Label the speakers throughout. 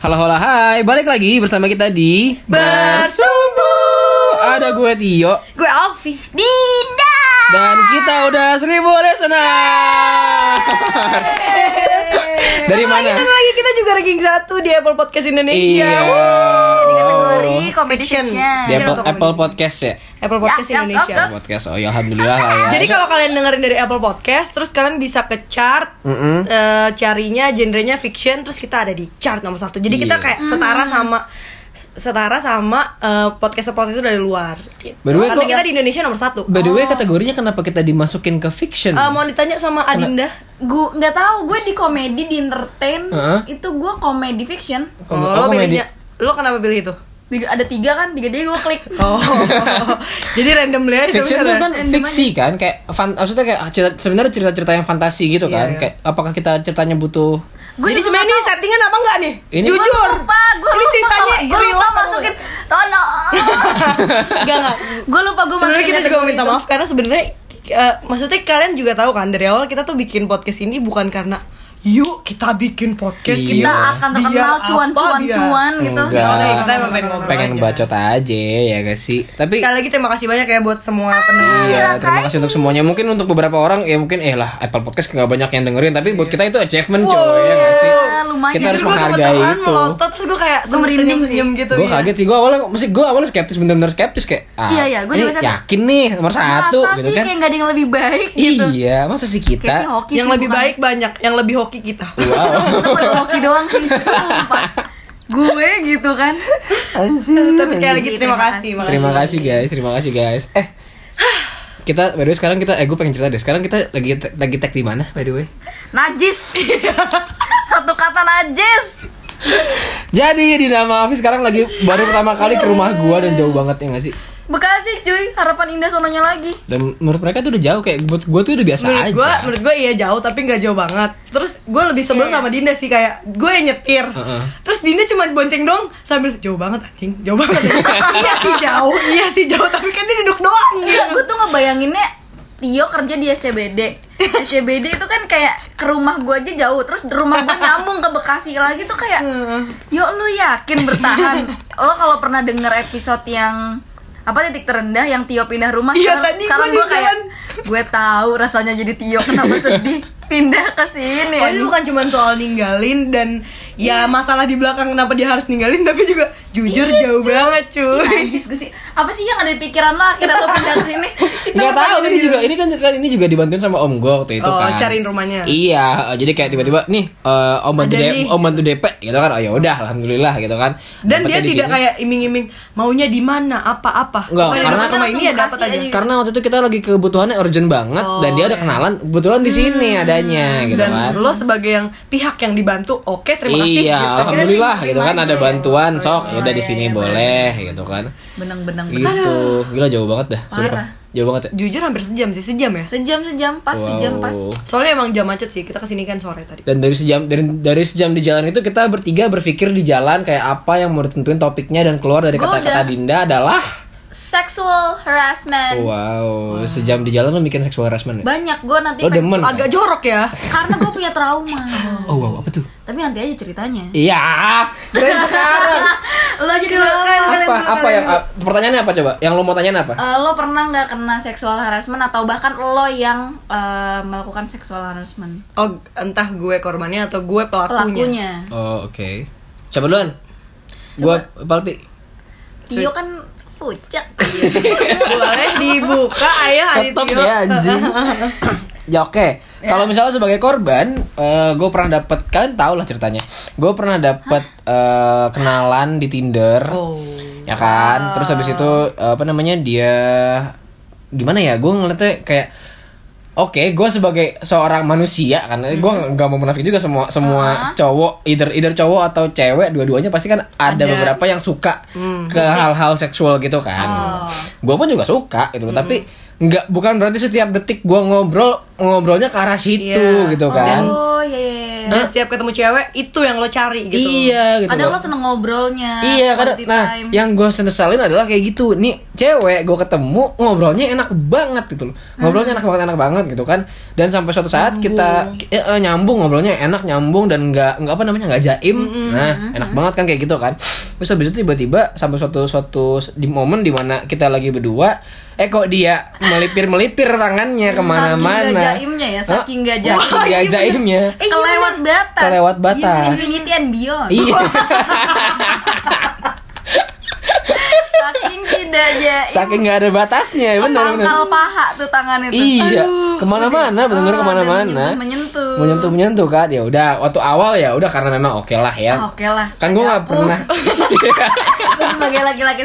Speaker 1: Halo halo hai, balik lagi bersama kita di
Speaker 2: Bersumbu
Speaker 1: Ada gue Tio
Speaker 2: Gue Alfi Dinda
Speaker 1: Dan kita udah seribu listener Dari
Speaker 2: Sama
Speaker 1: mana?
Speaker 2: lagi, sama lagi kita juga ranking 1 di Apple Podcast
Speaker 1: Iya
Speaker 2: Indonesia Di kategori
Speaker 1: Wow.
Speaker 2: competition
Speaker 1: Di Apple, Apple Podcast ya?
Speaker 2: Apple Podcast
Speaker 3: Yes, yes,
Speaker 2: Indonesia
Speaker 3: yes, yes.
Speaker 1: Podcast, oh ya Alhamdulillah lah ya
Speaker 2: Jadi kalau kalian dengerin dari Apple Podcast Terus kalian bisa ke chart
Speaker 1: Mm-mm.
Speaker 2: eh, Carinya genrenya fiction Terus kita ada di chart nomor satu Jadi kita
Speaker 1: Yes.
Speaker 2: kayak setara sama Setara sama eh, podcast-podcast itu dari luar gitu.
Speaker 1: By the way,
Speaker 2: Karena
Speaker 1: kok-
Speaker 2: kita di Indonesia nomor satu
Speaker 1: By the way kategorinya kenapa kita dimasukin ke fiction?
Speaker 2: Eh, Oh. Mau ditanya sama Adinda
Speaker 3: gue nggak tahu gue di komedi di entertain
Speaker 1: Heeh.
Speaker 3: itu gue komedi fiction
Speaker 1: Oh, aku
Speaker 2: Oh, Lo
Speaker 1: komedi.
Speaker 2: pilihnya Lo kenapa pilih itu?
Speaker 3: Tiga- ada tiga kan tiga tiga gue klik
Speaker 2: Oh, jadi random aja ya.
Speaker 1: Fiction itu
Speaker 2: sebenarnya.
Speaker 1: kan fiksi kan, kayak fan, maksudnya kayak cerita, sebenarnya cerita-cerita yang fantasi gitu
Speaker 2: Iya,
Speaker 1: kan.
Speaker 2: iya.
Speaker 1: Kayak apakah kita ceritanya butuh
Speaker 3: gue
Speaker 2: Jadi sebenarnya ini settingan apa enggak nih?
Speaker 1: Ini-
Speaker 3: gue
Speaker 2: Jujur.
Speaker 3: lupa gue
Speaker 2: Ini
Speaker 3: lupa
Speaker 2: ceritanya
Speaker 3: gue
Speaker 2: real
Speaker 3: lupa
Speaker 2: apa
Speaker 3: masukin tolong
Speaker 2: enggak? Enggak enggak.
Speaker 3: gue lupa gue
Speaker 2: Sebenarnya
Speaker 3: masukin
Speaker 2: kita juga
Speaker 3: kategori
Speaker 2: minta
Speaker 3: itu.
Speaker 2: maaf karena sebenarnya eh, maksudnya kalian juga tahu kan dari awal kita tuh bikin podcast ini bukan karena yuk kita bikin podcast
Speaker 1: Iya.
Speaker 2: ini.
Speaker 3: kita akan
Speaker 2: Biar
Speaker 3: terkenal
Speaker 2: apa
Speaker 3: cuan cuan
Speaker 2: biar-
Speaker 3: cuan gitu
Speaker 1: Enggak.
Speaker 2: Oke, Ya kita emang pengen ngobrol
Speaker 1: pengen
Speaker 2: aja.
Speaker 1: bacot aja ya gak sih? Tapi
Speaker 2: Sekali lagi terima kasih banyak ya buat semua
Speaker 3: Ah,
Speaker 2: pendengar.
Speaker 1: Iya,
Speaker 3: kan?
Speaker 1: terima kasih untuk semuanya. Mungkin untuk beberapa orang ya mungkin eh lah Apple Podcast nggak banyak yang dengerin, tapi buat kita itu achievement coy ya nggak sih?
Speaker 3: Iya, lumayan.
Speaker 1: Kita harus
Speaker 2: Terus gua
Speaker 1: menghargai
Speaker 2: kebetulan
Speaker 1: itu.
Speaker 2: Melotot terus gue kayak
Speaker 3: Gua merinding
Speaker 2: senyum senyum gitu.
Speaker 1: Gue
Speaker 2: iya.
Speaker 1: kaget sih, gue awalnya mesti gue awalnya skeptis bener-bener skeptis kayak ah,
Speaker 3: ya. Iya, iya, gua
Speaker 1: ini
Speaker 3: juga sama.
Speaker 1: yakin nih nomor satu
Speaker 3: masa
Speaker 1: gitu
Speaker 3: sih
Speaker 1: kan.
Speaker 3: kayak nggak ada yang lebih baik gitu
Speaker 1: Iya, masa sih
Speaker 3: kayak
Speaker 1: kita
Speaker 3: si hoki
Speaker 2: Yang
Speaker 3: sih,
Speaker 2: lebih
Speaker 3: bukan.
Speaker 2: baik banyak, yang lebih hoki kita.
Speaker 1: Wow.
Speaker 3: kita pada hoki doang sih sumpah. gue gitu kan
Speaker 2: Tapi sekali lagi terima
Speaker 3: Terima
Speaker 2: kasih. makasih.
Speaker 3: kasih.
Speaker 1: Terima kasih guys, terima kasih guys. Eh, kita by the way sekarang kita eh gue pengen cerita deh. Sekarang kita lagi lagi tag di mana by the way?
Speaker 3: najis satu kata najis
Speaker 1: Jadi di nama Afi sekarang lagi baru pertama kali ke rumah gua dan jauh banget ya nggak sih?
Speaker 3: Bekasi cuy harapan indah sononya lagi
Speaker 1: Dan menurut mereka tuh udah jauh kayak buat gua tuh udah biasa
Speaker 2: menurut
Speaker 1: aja. Iya.
Speaker 2: gue menurut gue iya jauh tapi nggak jauh banget terus gue lebih sebel sama Dinda sih kayak gue yang nyetir
Speaker 1: Heeh.
Speaker 2: terus Dinda cuma bonceng dong sambil jauh banget anjing jauh banget iya sih jauh iya sih jauh tapi kan dia duduk doang
Speaker 3: enggak gue tuh ngebayanginnya Tio kerja di SCBD SCBD itu kan kayak ke rumah gue aja jauh Terus rumah gue nyambung ke Bekasi lagi tuh kayak Yo lu yakin bertahan Lo kalau pernah denger episode yang apa titik terendah yang Tio pindah rumah
Speaker 2: Iya,
Speaker 3: sekarang-
Speaker 2: tadi
Speaker 3: sekarang
Speaker 2: gua di
Speaker 3: gue kayak
Speaker 2: jalan.
Speaker 3: gue tahu rasanya jadi Tio kenapa sedih pindah ke sini
Speaker 2: Oh, ini bukan cuma soal ninggalin dan ya masalah di belakang kenapa dia harus ninggalin tapi juga jujur jauh banget
Speaker 3: Iya,
Speaker 2: cuy
Speaker 3: najis gue sih apa sih yang ada di pikiran lo akhirnya lo pindah ke sini
Speaker 1: Nggak tahu ini juga ini kan kan ini juga dibantuin sama om gua waktu itu
Speaker 2: gitu. Oh,
Speaker 1: kan.
Speaker 2: cariin rumahnya.
Speaker 1: Iya, eh, jadi kayak tiba-tiba nih eh, om bantu
Speaker 2: Ada
Speaker 1: DP,
Speaker 2: nih.
Speaker 1: om bantu DP gitu kan. Oh ya udah alhamdulillah gitu kan.
Speaker 2: dan
Speaker 1: Dapetnya
Speaker 2: dia
Speaker 1: di
Speaker 2: tidak
Speaker 1: sini.
Speaker 2: kayak iming-iming maunya di mana apa-apa
Speaker 1: Nggak,
Speaker 2: Pokoknya
Speaker 1: karena-
Speaker 2: dapat rumah ini ya
Speaker 3: Langsung
Speaker 2: dapat
Speaker 3: kasih
Speaker 2: aja
Speaker 3: aja.
Speaker 1: karena waktu itu kita lagi kebutuhannya urgent banget dan dia ada kenalan kebetulan di sini adanya gitu
Speaker 2: Oh, ya. Hmm, dan
Speaker 1: kan.
Speaker 2: lo sebagai yang pihak yang dibantu oke terima kasih
Speaker 1: iya,
Speaker 2: gitu.
Speaker 1: alhamdulillah
Speaker 3: Akhirnya
Speaker 1: gitu kan
Speaker 3: terima
Speaker 1: ada
Speaker 3: aja.
Speaker 1: bantuan sok
Speaker 3: Oh,
Speaker 1: ya udah di
Speaker 3: iya,
Speaker 1: sini
Speaker 3: iya,
Speaker 1: boleh gitu kan.
Speaker 3: benang-benang benang
Speaker 1: Gitu. Gila jauh banget dah, sumpah.
Speaker 3: Parah.
Speaker 1: Jauh banget ya.
Speaker 2: jujur hampir sejam sih sejam ya
Speaker 3: sejam sejam pas sejam pas
Speaker 1: Iya. Wow.
Speaker 2: soalnya emang jam macet sih kita kesini kan sore tadi
Speaker 1: Dan dari sejam dari, dari sejam di jalan itu kita bertiga berpikir di jalan kayak apa yang mau ditentuin topiknya dan keluar dari
Speaker 3: Gua
Speaker 1: kata-kata
Speaker 3: udah-
Speaker 1: Dinda adalah
Speaker 3: sexual harassment
Speaker 1: wow, sejam di jalan lo mikirin seksual harassment ya?
Speaker 3: banyak gue nanti
Speaker 1: Lo
Speaker 3: pengen-
Speaker 1: demen?
Speaker 2: agak jorok ya
Speaker 3: karena gue punya trauma
Speaker 1: Oh wow, apa tuh?
Speaker 3: tapi nanti aja ceritanya
Speaker 1: Iya, keren sekarang.
Speaker 3: lo aja dulu kalian kalian
Speaker 1: apa
Speaker 3: dulu,
Speaker 1: apa
Speaker 3: kalian
Speaker 1: yang
Speaker 3: dulu.
Speaker 1: a- pertanyaannya apa coba? Yang lo mau tanyain apa?
Speaker 3: Eh, lo pernah nggak kena sexual harassment atau bahkan lo yang eh, melakukan sexual harassment
Speaker 2: oh entah gue korbannya atau gue pelakunya,
Speaker 3: pelakunya
Speaker 1: Oh, oke. Coba duluan. Gua Palpi.
Speaker 3: Tio kan pucat
Speaker 2: boleh dibuka ayah
Speaker 1: Tetep ya anjing. ya oke. Kalau misalnya sebagai korban, gue pernah dapet kalian tau lah ceritanya. Gue pernah dapet eh, kenalan di Tinder,
Speaker 2: oh
Speaker 1: ya kan. Terus habis itu eh, apa namanya dia gimana ya? Gue ngeliatnya kayak Oke, gue sebagai seorang manusia kan, gue nggak mau munafik juga semua semua cowok, either either cowok atau cewek, dua-duanya pasti kan ada, Mm.
Speaker 2: Ada.
Speaker 1: beberapa yang suka ke hal-hal seksual gitu kan.
Speaker 3: Oh.
Speaker 1: Gue pun juga suka gitu, loh, tapi nggak bukan berarti setiap detik gue ngobrol ngobrolnya ke arah situ
Speaker 2: Iya.
Speaker 1: gitu
Speaker 3: oh
Speaker 1: kan.
Speaker 3: iya iya, iya. iya.
Speaker 2: Dan setiap ketemu cewek itu yang lo cari gitu
Speaker 1: Iya gitu.
Speaker 3: Kadang
Speaker 1: loh.
Speaker 3: lo seneng ngobrolnya.
Speaker 1: Iya kadang
Speaker 3: quality
Speaker 1: nah
Speaker 3: time.
Speaker 1: yang gue sesalin adalah kayak gitu nih cewek gue ketemu ngobrolnya enak banget gitu loh ngobrolnya enak banget enak banget gitu kan dan sampai suatu saat kita eh, eh, nyambung ngobrolnya enak nyambung dan nggak nggak apa namanya nggak jaim nah enak banget kan kayak gitu kan terus habis itu tiba-tiba sampai suatu suatu s- di momen dimana kita lagi berdua eh kok dia melipir melipir tangannya
Speaker 3: Saking gak
Speaker 1: kemana-mana Eh,
Speaker 3: jaimnya ya, saking gak jaim.
Speaker 1: Saking nggak jaimnya
Speaker 2: Eh, iya,
Speaker 3: Kelewat batas. Iya,
Speaker 1: Kelewat batas.
Speaker 3: Infinity and beyond.
Speaker 1: iya
Speaker 3: Saking tidak jaim.
Speaker 1: saking nggak ada batasnya benar benar
Speaker 3: Pangkal paha tuh tangan itu.
Speaker 1: Iya, kemana-mana, benar-benar
Speaker 3: Ah,
Speaker 1: kemana-mana.
Speaker 3: dan menyentuh-menyentuh.
Speaker 1: menyentuh menyentuh kan ya udah waktu awal ya udah karena memang oke lah ya
Speaker 3: Ah, oke lah,
Speaker 1: kan gue nggak
Speaker 3: sagapung.
Speaker 1: pernah
Speaker 3: Sebagai laki-laki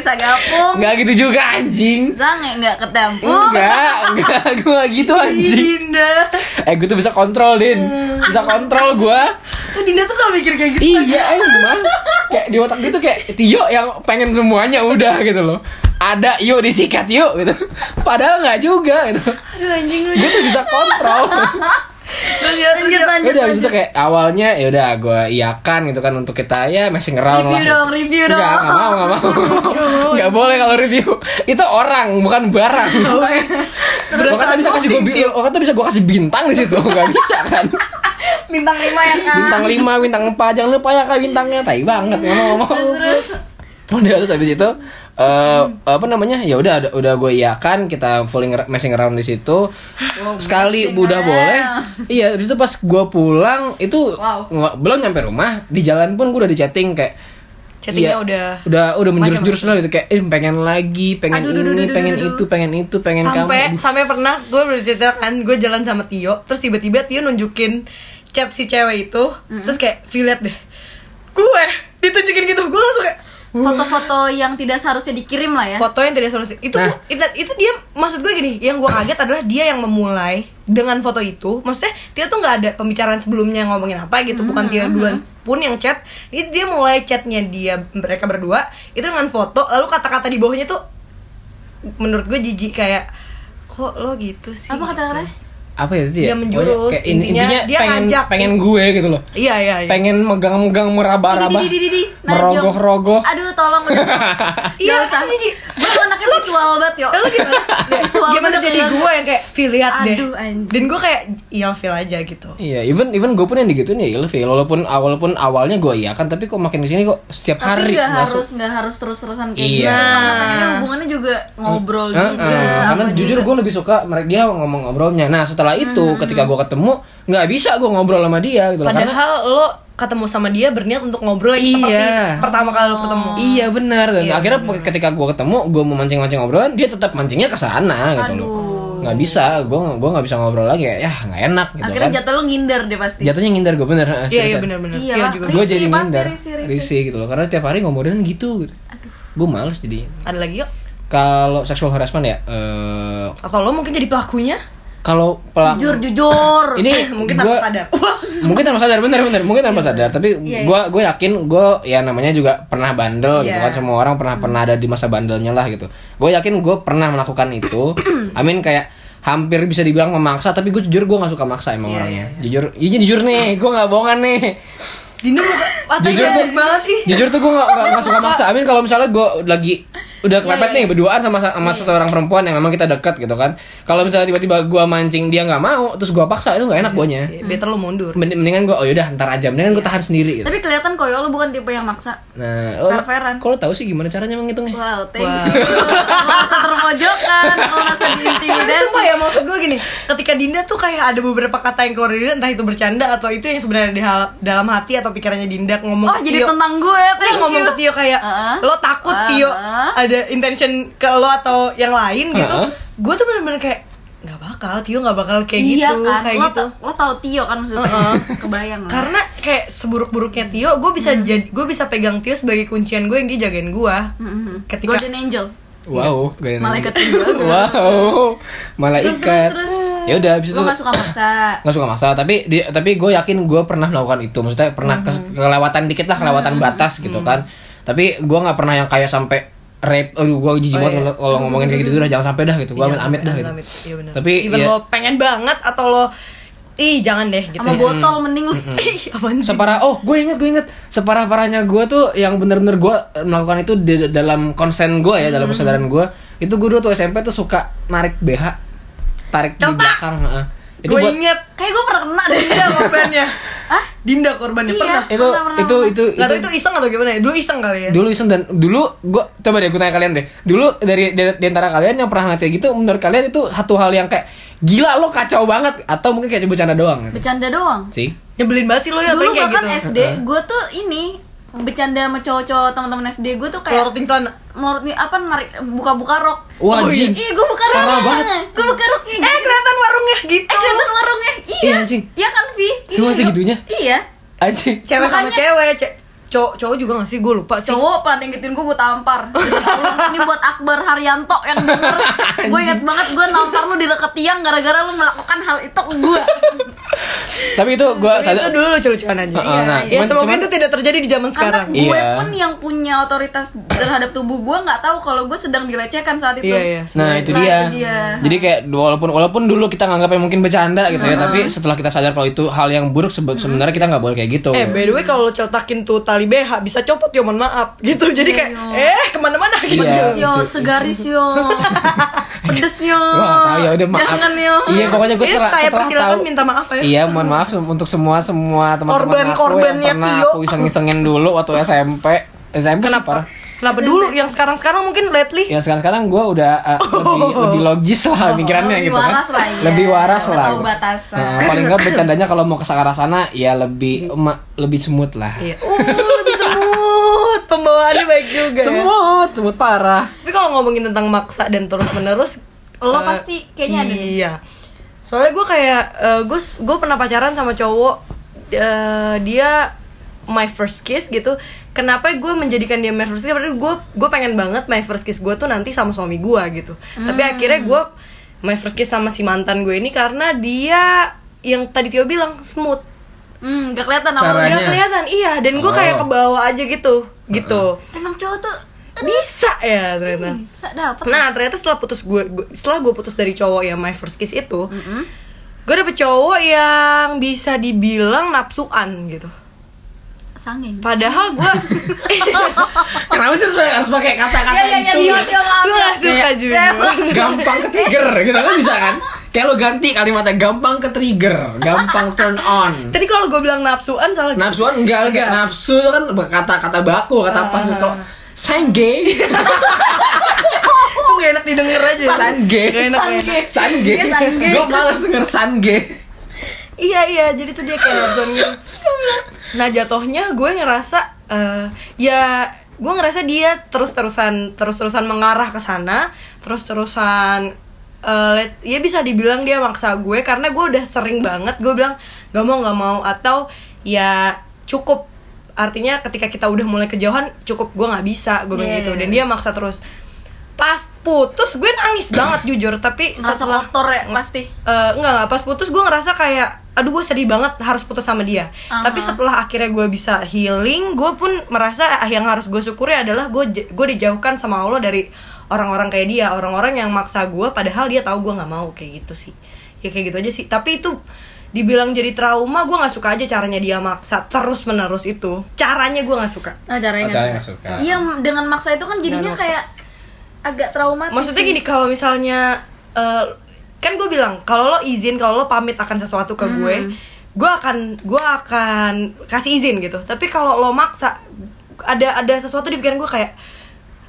Speaker 3: sagapung. eh,
Speaker 1: nggak gitu juga anjing
Speaker 3: Zange nggak ketempung.
Speaker 1: enggak enggak gue nggak gitu anjing
Speaker 2: Dinda
Speaker 1: eh gue tuh bisa kontrol din bisa kontrol gue
Speaker 2: Tuh Dinda tuh selalu mikir kayak gitu
Speaker 1: iya emang kayak di otak gitu kayak Tio yang pengen semuanya udah gitu loh ada yuk disikat yuk gitu padahal nggak juga gitu
Speaker 2: Aduh anjing lu
Speaker 1: gue tuh bisa kontrol
Speaker 2: Terus ya terus ya
Speaker 3: Lanjut,
Speaker 1: Ya
Speaker 3: lanjut,
Speaker 1: udah abis itu
Speaker 3: lanjut.
Speaker 1: kayak awalnya ya udah gue iakan gitu kan untuk kita ya messing around
Speaker 3: Review
Speaker 1: lah.
Speaker 3: dong, review
Speaker 1: Nggak,
Speaker 3: dong.
Speaker 1: nggak mau, nggak mau. Nggak boleh kalau review. Itu orang, bukan barang. Waktu
Speaker 2: Perasaan
Speaker 1: bisa kasih gue,
Speaker 2: positif.
Speaker 1: waktu bisa gue kasih bintang di situ, nggak bisa kan?
Speaker 3: Bintang 5 ya kan.
Speaker 1: Bintang 5, bintang 4, jangan lupa ya kak bintangnya, tai banget nggak mau nggak mau.
Speaker 3: Terus
Speaker 1: Udah terus habis itu eh apa namanya? Ya udah ada- udah gue iakan kita fooling messing around di situ. Sekali
Speaker 3: messing
Speaker 1: udah
Speaker 3: around.
Speaker 1: boleh. Iya, habis itu pas gue pulang itu
Speaker 3: Wow.
Speaker 1: nggak- belum nyampe rumah, di jalan pun gue udah di chatting kayak
Speaker 2: Chattingnya
Speaker 1: iya,
Speaker 2: udah
Speaker 1: udah udah menjurus-jurus lah gitu kayak eh, pengen lagi, pengen
Speaker 3: Aduh,
Speaker 1: ini,
Speaker 3: duh, duh, duh, duh,
Speaker 1: pengen
Speaker 3: duh, duh.
Speaker 1: itu, pengen itu, pengen
Speaker 2: sampai
Speaker 1: kamu.
Speaker 2: sampai pernah gue bercerita kan gue jalan sama Tio terus tiba-tiba Tio nunjukin chat si cewek itu terus kayak "View, liat deh gue ditunjukin gitu gue langsung kayak
Speaker 3: foto-foto yang tidak seharusnya dikirim lah ya.
Speaker 2: foto yang tidak solusi itu
Speaker 1: Nah.
Speaker 2: gua- itu, itu dia maksud gue gini yang gue kaget adalah dia yang memulai dengan foto itu maksudnya dia tuh nggak ada pembicaraan sebelumnya ngomongin apa gitu bukan dia duluan pun yang chat dia dia mulai chatnya dia mereka berdua itu dengan foto lalu kata-kata di bawahnya tuh menurut gue jijik kayak kok lo gitu sih
Speaker 3: Apa kata-kata?
Speaker 2: Gitu.
Speaker 1: Apa ya itu ya?
Speaker 2: Dia menjurus,
Speaker 1: Pokoknya kayak in-
Speaker 2: intinya dia
Speaker 1: pengen
Speaker 2: ngajak.
Speaker 1: pengen gue gitu loh.
Speaker 2: iya iya, iya.
Speaker 1: Pengen megang-megang meraba-raba.
Speaker 3: Di, di, di, di, di. Najong.
Speaker 1: Merogoh-rogoh.
Speaker 3: Aduh, tolong udah.
Speaker 2: Iya,
Speaker 3: Nggak usah.
Speaker 2: kan jadi-
Speaker 3: Gue tuh anaknya visual banget, yo.
Speaker 2: Eh, lu gimana?
Speaker 3: Visual
Speaker 2: gimana
Speaker 3: banget
Speaker 2: jadi
Speaker 3: ya.
Speaker 2: gue yang kayak feel lihat deh
Speaker 3: Aduh, anjing.
Speaker 2: dan gue kayak iya feel aja gitu
Speaker 1: Iya, even even gue pun yang digituin ya ilfil. Walaupun awal pun awalnya gue iya kan, tapi kok makin kesini kok setiap hari
Speaker 3: Tapi nggak
Speaker 1: masuk.
Speaker 3: harus nggak harus terus-terusan kayak
Speaker 1: Iya.
Speaker 2: Nah,
Speaker 3: gitu. Karena pengennya hubungannya juga ngobrol
Speaker 1: Eh, eh,
Speaker 3: juga.
Speaker 1: karena
Speaker 3: apa gitu.
Speaker 1: jujur
Speaker 3: juga. Hmm.
Speaker 1: gue lebih suka mereka dia ngomong ngobrolnya. Nah setelah itu ketika gue ketemu nggak bisa gue ngobrol sama dia gitu loh karena
Speaker 2: Padahal lo ketemu sama dia berniat untuk ngobrol yang seperti
Speaker 1: Iya.
Speaker 2: pertama kali lo ketemu.
Speaker 3: Oh.
Speaker 1: iya benar dan
Speaker 2: Iya,
Speaker 1: akhirnya ketika gue ketemu gue mau mancing-mancing obrolan dia tetap mancingnya ke sana gitu loh.
Speaker 3: Aduh.
Speaker 1: Nggak bisa, gue gue nggak bisa ngobrol lagi ya nggak enak gitu
Speaker 3: Akhirnya
Speaker 1: kan.
Speaker 3: jatuh lo ngindar deh pasti.
Speaker 1: Jatuhnya ngindar gue bener. eh,
Speaker 2: Iya, iya
Speaker 1: seriusan.
Speaker 2: benar-benar.
Speaker 3: Iya.
Speaker 2: Iya juga.
Speaker 1: Gue
Speaker 3: Risih,
Speaker 1: jadi
Speaker 3: pasti
Speaker 1: ngindar,
Speaker 3: risih, risih.
Speaker 1: risih gitu loh. Karena tiap hari ngobrolin gitu. gitu. Gue males jadi.
Speaker 2: Ada lagi yuk.
Speaker 1: Kalau sexual harassment ya, eh,
Speaker 2: Atau lo mungkin jadi pelakunya?
Speaker 1: kalau pelaku
Speaker 3: Jujur, jujur.
Speaker 1: ini
Speaker 2: mungkin
Speaker 1: gua,
Speaker 2: tanpa sadar. Wah.
Speaker 1: mungkin tanpa sadar bener bener mungkin tanpa sadar tapi
Speaker 3: Iya,
Speaker 1: gue gue yakin gue ya namanya juga pernah bandel gitu kan
Speaker 2: Iya.
Speaker 1: semua orang pernah pernah ada di masa bandelnya lah gitu gue yakin gue pernah melakukan itu amin kayak hampir bisa dibilang memaksa tapi gue jujur gue nggak suka maksa emang
Speaker 2: Iya,
Speaker 1: orangnya jujur iya jujur nih gue nggak bohongan nih
Speaker 2: Dino muka
Speaker 1: Jujur
Speaker 2: matanya
Speaker 1: tuh.
Speaker 2: jelek banget ih.
Speaker 1: jujur tuh gue nggak nggak- nggak suka maksa amin kalau misalnya gue lagi udah
Speaker 3: Iya,
Speaker 1: kepepet nih berduaan sama sama seseorang perempuan yang memang kita dekat gitu kan kalau misalnya tiba-tiba gue mancing dia nggak mau terus gue paksa itu nggak
Speaker 3: Iya,
Speaker 1: enak guanya
Speaker 2: Ya, Better lo mundur.
Speaker 1: Mending- mendingan gue oh yaudah ntar aja mendingan gue tahan sendiri gitu.
Speaker 3: Tapi kelihatan kok yo lo bukan tipe yang maksa.
Speaker 1: nah oh,
Speaker 3: Fair-fairan.
Speaker 1: kalau tahu sih gimana caranya menghitungnya
Speaker 3: Wow, thank you. Lo rasa terpojokan, lo rasa
Speaker 2: Tapi
Speaker 3: diintimidasi.
Speaker 2: sumpah ya maksud gue gini Ketika Dinda tuh kayak ada beberapa kata yang keluar dari Dinda Entah itu bercanda atau itu yang sebenarnya di hal- dalam hati atau pikirannya Dinda ngomong
Speaker 3: Oh,
Speaker 2: ke
Speaker 3: jadi
Speaker 2: Tio.
Speaker 3: tentang gue,
Speaker 2: Dia
Speaker 3: thank
Speaker 2: ngomong
Speaker 3: you.
Speaker 2: ke Tio kayak
Speaker 3: Heeh.
Speaker 2: lo takut
Speaker 3: Heeh.
Speaker 2: Tio ada intention ke lo atau yang lain gitu
Speaker 1: Heeh.
Speaker 2: gue tuh bener-bener kayak nggak bakal Tio nggak bakal kayak
Speaker 3: iya
Speaker 2: gitu
Speaker 3: kan,
Speaker 2: kayak
Speaker 3: lo,
Speaker 2: gitu
Speaker 3: ta- Hmm. lo tau Tio kan maksudnya, kebayang lah.
Speaker 2: karena kayak seburuk-buruknya Tio gue bisa
Speaker 3: Hmm.
Speaker 2: jadi gue bisa pegang Tio sebagai kuncian gue yang dia jagain gue
Speaker 3: Mhm.
Speaker 2: ketika
Speaker 3: Golden Angel.
Speaker 1: wow gak ada
Speaker 3: Malaikat
Speaker 1: nanya.
Speaker 3: juga.
Speaker 1: wow
Speaker 3: Terus
Speaker 1: malaikat
Speaker 3: terus terus.
Speaker 1: ya udah abis itu
Speaker 3: Lo gak suka maksa.
Speaker 1: nggak suka maksa tapi di- tapi gue yakin gue pernah melakukan itu maksudnya pernah
Speaker 2: Mm-hmm.
Speaker 1: kes- kelewatan dikit lah kelewatan batas gitu kan tapi gue nggak pernah yang kayak sampai rape aduh gue jijik
Speaker 2: Oh,
Speaker 1: banget
Speaker 2: iya.
Speaker 1: kalau- kalau ngomongin kayak gitu udah jangan sampai dah gitu gue
Speaker 2: Iya,
Speaker 1: amit amit dah gitu
Speaker 2: amit-amit. Iya, bener.
Speaker 1: tapi
Speaker 2: even
Speaker 1: ya,
Speaker 2: lo pengen banget atau lo ih jangan deh gitu
Speaker 3: sama
Speaker 2: ya.
Speaker 3: botol mending lu
Speaker 2: ih apaan sih
Speaker 1: separah oh gue inget gue inget separah parahnya gue tuh yang bener-bener gue melakukan itu di dalam konsen gue ya
Speaker 2: Mm-hmm.
Speaker 1: dalam kesadaran gue itu gue dulu tuh SMP tuh suka narik BH tarik di
Speaker 2: Contak.
Speaker 1: belakang heeh. itu
Speaker 2: gue
Speaker 1: buat
Speaker 2: inget
Speaker 3: kayak gue pernah kena deh
Speaker 2: Dinda korbannya
Speaker 3: Hah?
Speaker 2: Dinda korbannya
Speaker 3: Iya.
Speaker 2: pernah
Speaker 1: itu
Speaker 3: Pernah, pernah,
Speaker 1: itu
Speaker 3: pernah.
Speaker 1: itu
Speaker 2: Gak tau itu iseng atau gimana ya? Dulu iseng kali ya?
Speaker 1: dulu iseng dan dulu gue coba deh gue tanya kalian deh dulu dari di, di antara kalian yang pernah ngeliat kayak gitu menurut kalian itu satu hal yang kayak gila lo kacau banget atau mungkin kayak bercanda doang gitu
Speaker 3: bercanda doang
Speaker 1: sih
Speaker 2: Nyebelin banget sih
Speaker 1: Oh, iya,
Speaker 2: lo ya
Speaker 3: dulu
Speaker 2: kayak
Speaker 3: bahkan
Speaker 2: gitu
Speaker 3: SD gue tuh ini bercanda sama cowok-cowok teman-teman SD gue tuh kayak Eh,
Speaker 2: Pelorotin celana
Speaker 3: menurut nih, apa narik buka-buka rok
Speaker 1: Wah,
Speaker 3: Oh, iya
Speaker 1: Jin.
Speaker 3: Iya, gue buka
Speaker 1: Parah banget.
Speaker 3: roknya gue buka roknya
Speaker 2: Eh kelihatan warungnya gitu
Speaker 3: eh kelihatan warungnya
Speaker 1: Iya,
Speaker 3: iya
Speaker 1: anjing.
Speaker 3: iya kan Vi
Speaker 1: Semua
Speaker 3: Iya.
Speaker 1: segitunya?
Speaker 3: iya
Speaker 1: anjing
Speaker 2: Cewek sama
Speaker 3: Makanya-
Speaker 2: cewek ce cowok, cowok juga gak sih? Gue lupa sih
Speaker 3: cowok pada ngikutin gue gue tampar Terus ya Allah, ini buat Akbar Haryanto yang denger gue inget banget gue nampar lu di dekat tiang gara-gara lu melakukan hal itu ke gue
Speaker 1: tapi itu gue
Speaker 2: Tapi Itu
Speaker 1: sadar
Speaker 2: dulu lucu-lucuan aja
Speaker 1: Heeh, nah,
Speaker 2: Ya
Speaker 1: cuman-
Speaker 2: semoga
Speaker 1: cuman-
Speaker 2: itu tidak terjadi di zaman
Speaker 3: karena
Speaker 2: sekarang
Speaker 3: gue
Speaker 1: Iya.
Speaker 3: pun yang punya otoritas terhadap tubuh gue nggak tahu kalau gue sedang dilecehkan saat itu
Speaker 2: Iya, iya
Speaker 1: Nah itu
Speaker 3: Nah,
Speaker 1: dia.
Speaker 3: itu dia.
Speaker 1: Jadi kayak walaupun walaupun dulu kita nganggapnya mungkin bercanda gitu ya, tapi setelah kita sadar kalau itu hal yang buruk sebe- sebenarnya kita nggak boleh kayak gitu.
Speaker 2: Eh by the way kalau lo celtakin tuh tali BH bisa copot ya mohon maaf gitu Jadi
Speaker 3: Iya,
Speaker 2: kayak
Speaker 3: yo.
Speaker 2: eh kemana-mana gitu
Speaker 1: Iya.
Speaker 3: pedes yo segaris yo pedes yo
Speaker 1: Wah, tahu ya udah maaf.
Speaker 3: jangan yo
Speaker 1: Iya, pokoknya gue
Speaker 2: Ini
Speaker 1: setelah
Speaker 2: saya
Speaker 1: setelah
Speaker 2: persilakan
Speaker 1: tahu.
Speaker 2: minta maaf ya.
Speaker 1: Iya, mohon maaf untuk semua semua teman-teman aku yang
Speaker 2: Korban-korbannya
Speaker 1: pernah
Speaker 2: Tio.
Speaker 1: aku iseng-isengin dulu waktu SMP. SMP sih
Speaker 2: Kenapa?
Speaker 1: parah.
Speaker 2: Kenapa dulu yang sekarang-sekarang mungkin lately
Speaker 1: Ya sekarang-sekarang gue udah uh, lebih lebih logis lah pikirannya
Speaker 3: Oh. lebih
Speaker 1: gitu kan.
Speaker 3: waras lah, iya.
Speaker 1: Lebih waras
Speaker 3: Udah
Speaker 1: lah.
Speaker 3: tahu batasan. Iya.
Speaker 1: Nah, paling nggak bercandanya kalau mau ke arah sana ya lebih ma- lebih smooth lah.
Speaker 2: Iya. Uh, lebih semut. Pembawaannya baik juga. ya.
Speaker 1: Smooth, smooth parah.
Speaker 2: Tapi kalau ngomongin tentang maksa dan terus-menerus
Speaker 3: Lo
Speaker 2: eh,
Speaker 3: pasti kayaknya ada deh.
Speaker 2: Iya. Soalnya gue kayak eh, gue gue pernah pacaran sama cowok eh, dia my first kiss gitu. Kenapa gue menjadikan dia my first kiss? Padahal gue gue pengen banget my first kiss gue tuh nanti sama suami gue gitu. Tapi
Speaker 3: Hmm.
Speaker 2: akhirnya gue my first kiss sama si mantan gue ini karena dia yang tadi Tio bilang smooth.
Speaker 3: hmm gak kelihatan
Speaker 1: Caranya.
Speaker 3: awalnya
Speaker 2: Gak kelihatan iya dan gue
Speaker 1: Oh.
Speaker 2: kayak kebawa aja gitu gitu.
Speaker 3: emang cowok tuh
Speaker 2: Bisa ya ternyata.
Speaker 3: bisa dapet
Speaker 2: Nah ternyata setelah putus gue, gue- setelah gue putus dari cowok yang my first kiss itu, gue dapet cowok yang bisa dibilang nafsuan gitu.
Speaker 3: sangin
Speaker 2: Padahal gue,
Speaker 1: Kenapa sih harus pakai- harus pakai kata-kata
Speaker 3: Iya, iya, iya,
Speaker 1: itu?
Speaker 3: iya, iya, maaf,
Speaker 2: gue
Speaker 3: ya.
Speaker 2: gak suka juga.
Speaker 1: gampang ke trigger gitu kan bisa kan kayak lo ganti kalimatnya gampang ke trigger gampang turn on
Speaker 2: Tadi kalau gue bilang nafsuan salah.
Speaker 1: nafsuan enggak enggak nafsu itu kan kata kata baku kata pas
Speaker 2: Ah.
Speaker 1: kalau sange
Speaker 2: Iya. Itu gak enak didengar aja.
Speaker 1: sange
Speaker 2: Gak enak, gak enak.
Speaker 1: sange
Speaker 3: Iya, sange.
Speaker 1: gue males denger sange
Speaker 2: Iya iya, jadi tuh dia kayak nafsuan gitu. Nah jatohnya gue ngerasa, eh, ya gue ngerasa dia terus-terusan terus-terusan mengarah ke sana, terus-terusan eh, let- ya bisa dibilang dia maksa gue karena gue udah sering banget gue bilang gak mau nggak mau atau ya cukup artinya ketika kita udah mulai kejauhan cukup gue nggak bisa gue bilang
Speaker 3: Iya,
Speaker 2: gitu
Speaker 3: iya,
Speaker 2: dan dia maksa terus pas putus gue nangis banget jujur tapi
Speaker 3: ngerasa
Speaker 2: setelah-
Speaker 3: kotor ya pasti
Speaker 2: Eh, enggak enggak pas putus gue ngerasa kayak aduh gue sedih banget harus putus sama dia
Speaker 3: Aha.
Speaker 2: tapi setelah akhirnya gue bisa healing gue pun merasa eh, yang harus gue syukuri adalah gue j- gue dijauhkan sama allah dari orang-orang kayak dia orang-orang yang maksa gue padahal dia tahu gue nggak mau kayak gitu sih ya kayak gitu aja sih tapi itu dibilang jadi trauma gue nggak suka aja caranya dia maksa terus menerus itu caranya gue nggak suka
Speaker 3: nah caranya
Speaker 1: Oh, caranya nggak suka.
Speaker 3: iya dengan maksa itu kan jadinya
Speaker 2: Dengan maksa.
Speaker 3: kayak agak traumatis
Speaker 2: maksudnya
Speaker 3: sih.
Speaker 2: gini kalau misalnya eh, kan gue bilang kalau lo izin kalau lo pamit akan sesuatu ke gue gue akan gue akan kasih izin gitu tapi kalau lo maksa ada ada sesuatu di pikiran gue kayak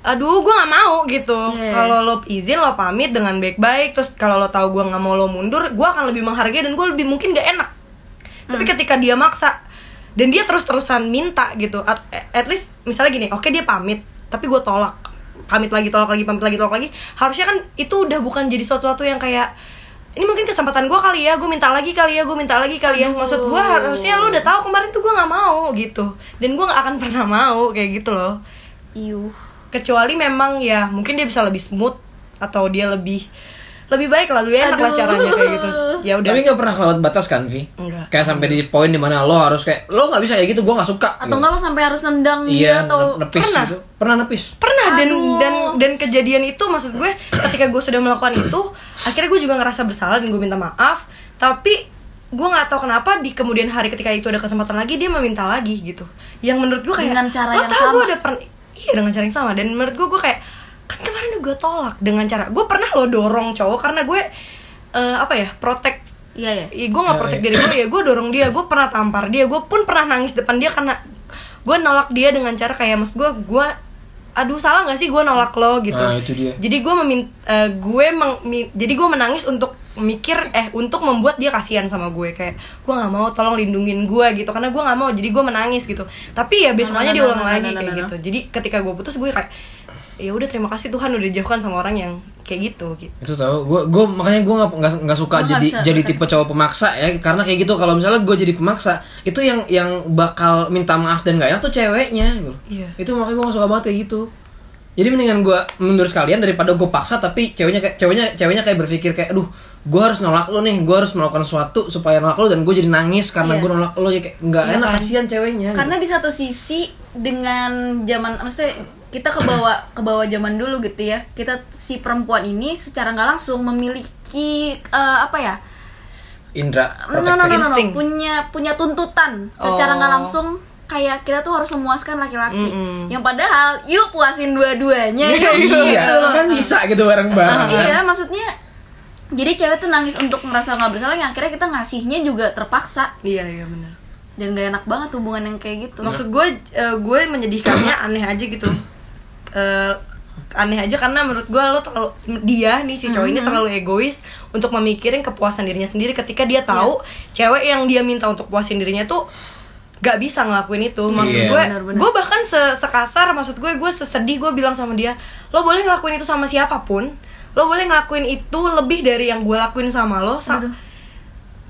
Speaker 2: aduh gue nggak mau gitu
Speaker 3: Iya.
Speaker 2: kalau lo izin lo pamit dengan baik-baik terus kalau lo tahu gue nggak mau lo mundur gue akan lebih menghargai dan gue lebih mungkin gak enak tapi ketika dia maksa dan dia terus-terusan minta gitu at, at least misalnya gini oke dia pamit tapi gue tolak pamit lagi tolak lagi pamit lagi tolak lagi harusnya kan itu udah bukan jadi sesuatu yang kayak ini mungkin kesempatan gue kali ya gue minta lagi kali ya gue minta lagi kali ya maksud gue harusnya lo udah tahu kemarin tuh gue nggak mau gitu dan gue nggak akan pernah mau kayak gitu loh
Speaker 3: Iuh.
Speaker 2: kecuali memang ya mungkin dia bisa lebih smooth atau dia lebih lebih baik lah lebih enak lah
Speaker 3: Aduh.
Speaker 2: caranya kayak gitu ya udah
Speaker 1: tapi nggak pernah kelewat batas kan Vi
Speaker 2: Nggak.
Speaker 1: kayak sampai di poin dimana lo harus kayak lo nggak bisa kayak gitu gue nggak suka
Speaker 3: atau enggak lo sampai harus nendang dia
Speaker 1: iya
Speaker 3: atau
Speaker 1: nepis
Speaker 2: Pernah.
Speaker 1: gitu pernah nepis
Speaker 2: pernah dan
Speaker 3: Aduh.
Speaker 2: dan dan kejadian itu maksud gue ketika gue sudah melakukan itu akhirnya gue juga ngerasa bersalah dan gue minta maaf tapi gue nggak tahu kenapa di kemudian hari ketika itu ada kesempatan lagi dia meminta lagi gitu yang menurut gue kayak
Speaker 3: Dengan cara
Speaker 2: "Lo
Speaker 3: yang
Speaker 2: tau gue
Speaker 3: sama."
Speaker 2: udah pernah iya dengan cara yang sama dan menurut gue gue kayak kan kemarin gue tolak dengan cara gue pernah lo dorong cowok karena gue eh, apa ya protect
Speaker 3: Iya ya.
Speaker 2: Ih, gue nggak
Speaker 1: Oh,
Speaker 2: protek
Speaker 1: iya.
Speaker 2: diri gue ya gue dorong dia gue pernah tampar dia gue pun pernah nangis depan dia karena gue nolak dia dengan cara kayak mas gue gue aduh salah nggak sih gue nolak lo gitu
Speaker 1: Nah, itu dia.
Speaker 2: jadi gue memin eh, gue meng- mi- jadi gue menangis untuk mikir eh untuk membuat dia kasihan sama gue kayak gue nggak mau tolong lindungin gue gitu karena gue nggak mau jadi gue menangis gitu tapi ya besoknya
Speaker 3: no, no,
Speaker 2: diulang
Speaker 3: no, no,
Speaker 2: lagi
Speaker 3: no, no,
Speaker 2: kayak
Speaker 3: no.
Speaker 2: gitu jadi ketika gue putus gue kayak ya udah terima kasih Tuhan udah dijauhkan sama orang yang kayak gitu gitu
Speaker 1: itu tahu gue gue makanya gue nggak nggak- nggak suka
Speaker 3: Gua nggak
Speaker 1: jadi
Speaker 3: bisa
Speaker 1: jadi
Speaker 3: tertarik.
Speaker 1: tipe cowok pemaksa ya karena kayak gitu kalau misalnya gue jadi pemaksa itu yang yang bakal minta maaf dan nggak enak tuh ceweknya gitu
Speaker 2: Iya.
Speaker 1: itu makanya gue nggak suka banget kayak gitu jadi mendingan gue menurut kalian daripada gue paksa tapi ceweknya kayak ceweknya ceweknya kayak berpikir kayak aduh gue harus nolak lo nih gue harus melakukan sesuatu supaya nolak lo dan gue jadi nangis karena
Speaker 3: Iya.
Speaker 1: gue nolak lo ya kayak nggak
Speaker 2: Iya
Speaker 1: enak
Speaker 2: kan?
Speaker 1: kasihan ceweknya gitu.
Speaker 3: Karena di satu sisi dengan zaman maksudnya kita kebawa kebawa zaman dulu gitu ya. Kita si perempuan ini secara nggak langsung memiliki eh, apa ya?
Speaker 1: Indra
Speaker 3: No no no no, no.
Speaker 2: Insting.
Speaker 3: punya punya tuntutan secara
Speaker 2: Oh.
Speaker 3: nggak langsung kayak kita tuh harus memuaskan laki-laki.
Speaker 2: Mm-mm.
Speaker 3: Yang padahal yuk puasin dua-duanya yuk
Speaker 1: iya
Speaker 3: gitu loh.
Speaker 1: kan bisa gitu bareng bareng
Speaker 3: Iya, maksudnya jadi cewek tuh nangis untuk merasa nggak bersalah yang akhirnya kita ngasihnya juga terpaksa
Speaker 2: iya iya benar
Speaker 3: dan gak enak banget hubungan yang kayak
Speaker 1: Iya.
Speaker 3: gitu.
Speaker 2: maksud gue eh, gue menyedihkannya aneh aja gitu Eh, aneh aja karena menurut gue lo terlalu dia nih si cowok ini
Speaker 1: Mm-hmm.
Speaker 2: terlalu egois untuk memikirin kepuasan dirinya sendiri ketika dia tahu
Speaker 1: Iya.
Speaker 2: cewek yang dia minta untuk puasin dirinya tuh gak bisa ngelakuin itu maksud
Speaker 1: Iya.
Speaker 2: gue
Speaker 3: Benar-benar.
Speaker 2: gue bahkan se- sekasar maksud gue gue sesedih gue bilang sama dia lo boleh ngelakuin itu sama siapapun lo boleh ngelakuin itu lebih dari yang gue lakuin sama lo sa-
Speaker 3: Aduh.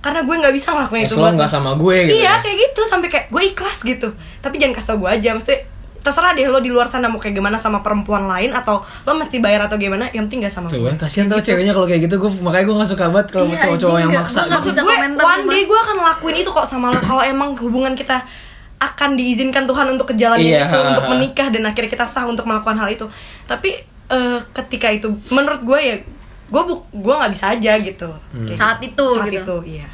Speaker 2: karena gue nggak bisa ngelakuin
Speaker 1: es Eh,
Speaker 2: Nah, itu
Speaker 1: lo
Speaker 2: buat
Speaker 1: nggak
Speaker 2: lo.
Speaker 1: sama gue gitu
Speaker 2: Iya kayak gitu sampai kayak gue ikhlas gitu. Tapi jangan kasih tau gue aja maksudnya terserah deh lo di luar sana mau kayak gimana sama perempuan lain atau lo mesti bayar atau gimana yang penting gak sama
Speaker 1: Tuh
Speaker 2: gue.
Speaker 1: kan kasihan tau ceweknya kalau kayak gitu gue makanya gue gak suka banget kalau
Speaker 3: Iya,
Speaker 1: cowok-cowok
Speaker 3: anjing,
Speaker 1: yang
Speaker 3: nggak-
Speaker 1: maksa
Speaker 3: nggak
Speaker 1: gitu.
Speaker 3: bisa
Speaker 2: Gue
Speaker 3: komentar
Speaker 2: one
Speaker 3: gue.
Speaker 2: day gue akan lakuin itu kok sama lo kalau emang hubungan kita akan diizinkan Tuhan untuk ke jalan
Speaker 1: Iya,
Speaker 2: yang itu
Speaker 1: ha,
Speaker 2: untuk
Speaker 1: ha.
Speaker 2: menikah dan akhirnya kita sah untuk melakukan hal itu. Tapi eh, ketika itu menurut gue ya gue bu gue nggak bisa aja gitu.
Speaker 1: Hmm.
Speaker 2: Kayak
Speaker 3: Saat
Speaker 2: gitu.
Speaker 3: itu,
Speaker 2: Saat
Speaker 3: gitu.
Speaker 2: itu iya.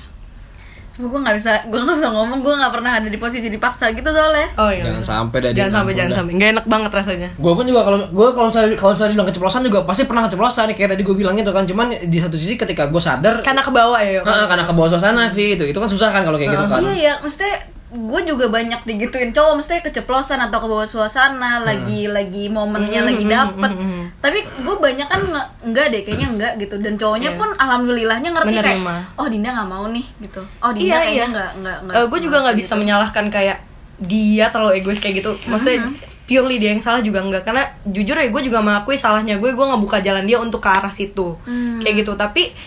Speaker 3: Cuma gue nggak bisa, gue nggak bisa ngomong, gue nggak pernah ada di posisi dipaksa gitu soalnya.
Speaker 2: Oh iya.
Speaker 1: Jangan
Speaker 2: bener.
Speaker 1: sampai dah,
Speaker 2: Jangan
Speaker 1: Din,
Speaker 2: sampai
Speaker 1: ampun
Speaker 2: jangan
Speaker 1: dah.
Speaker 2: sampai. Gak enak banget rasanya.
Speaker 1: Gue pun juga kalau gue kalau misalnya kalau misalnya bilang keceplosan juga pasti pernah keceplosan kayak tadi gue bilang gitu kan cuman di satu sisi ketika gue sadar
Speaker 3: Kan-
Speaker 2: Karena ke bawah ya. Yuk.
Speaker 1: Heeh, karena ke bawah suasana Vi itu itu kan susah kan kalau kayak gitu kan.
Speaker 3: Iya ya, maksudnya gue juga banyak digituin cowok, maksudnya keceplosan atau ke bawah suasana, lagi lagi momennya
Speaker 2: Hmm,
Speaker 3: lagi
Speaker 2: hmm,
Speaker 3: dapet.
Speaker 2: hmm, hmm.
Speaker 3: Tapi gue banyak kan nge- enggak deh, kayaknya enggak gitu. Dan
Speaker 2: Iya.
Speaker 3: cowoknya pun alhamdulillahnya ngerti kayak,
Speaker 2: Menerima.
Speaker 3: oh Dinda nggak mau nih gitu. Oh
Speaker 2: iya
Speaker 3: Dinda
Speaker 2: iya
Speaker 3: kayaknya nggak nggak nggak.
Speaker 2: gue juga nggak bisa menyalahkan kayak dia terlalu egois kayak gitu maksudnya purely dia yang salah juga nggak karena jujur ya gue juga mengakui salahnya gue gue ngebuka jalan dia untuk ke arah situ
Speaker 3: Hmm.
Speaker 2: kayak gitu tapi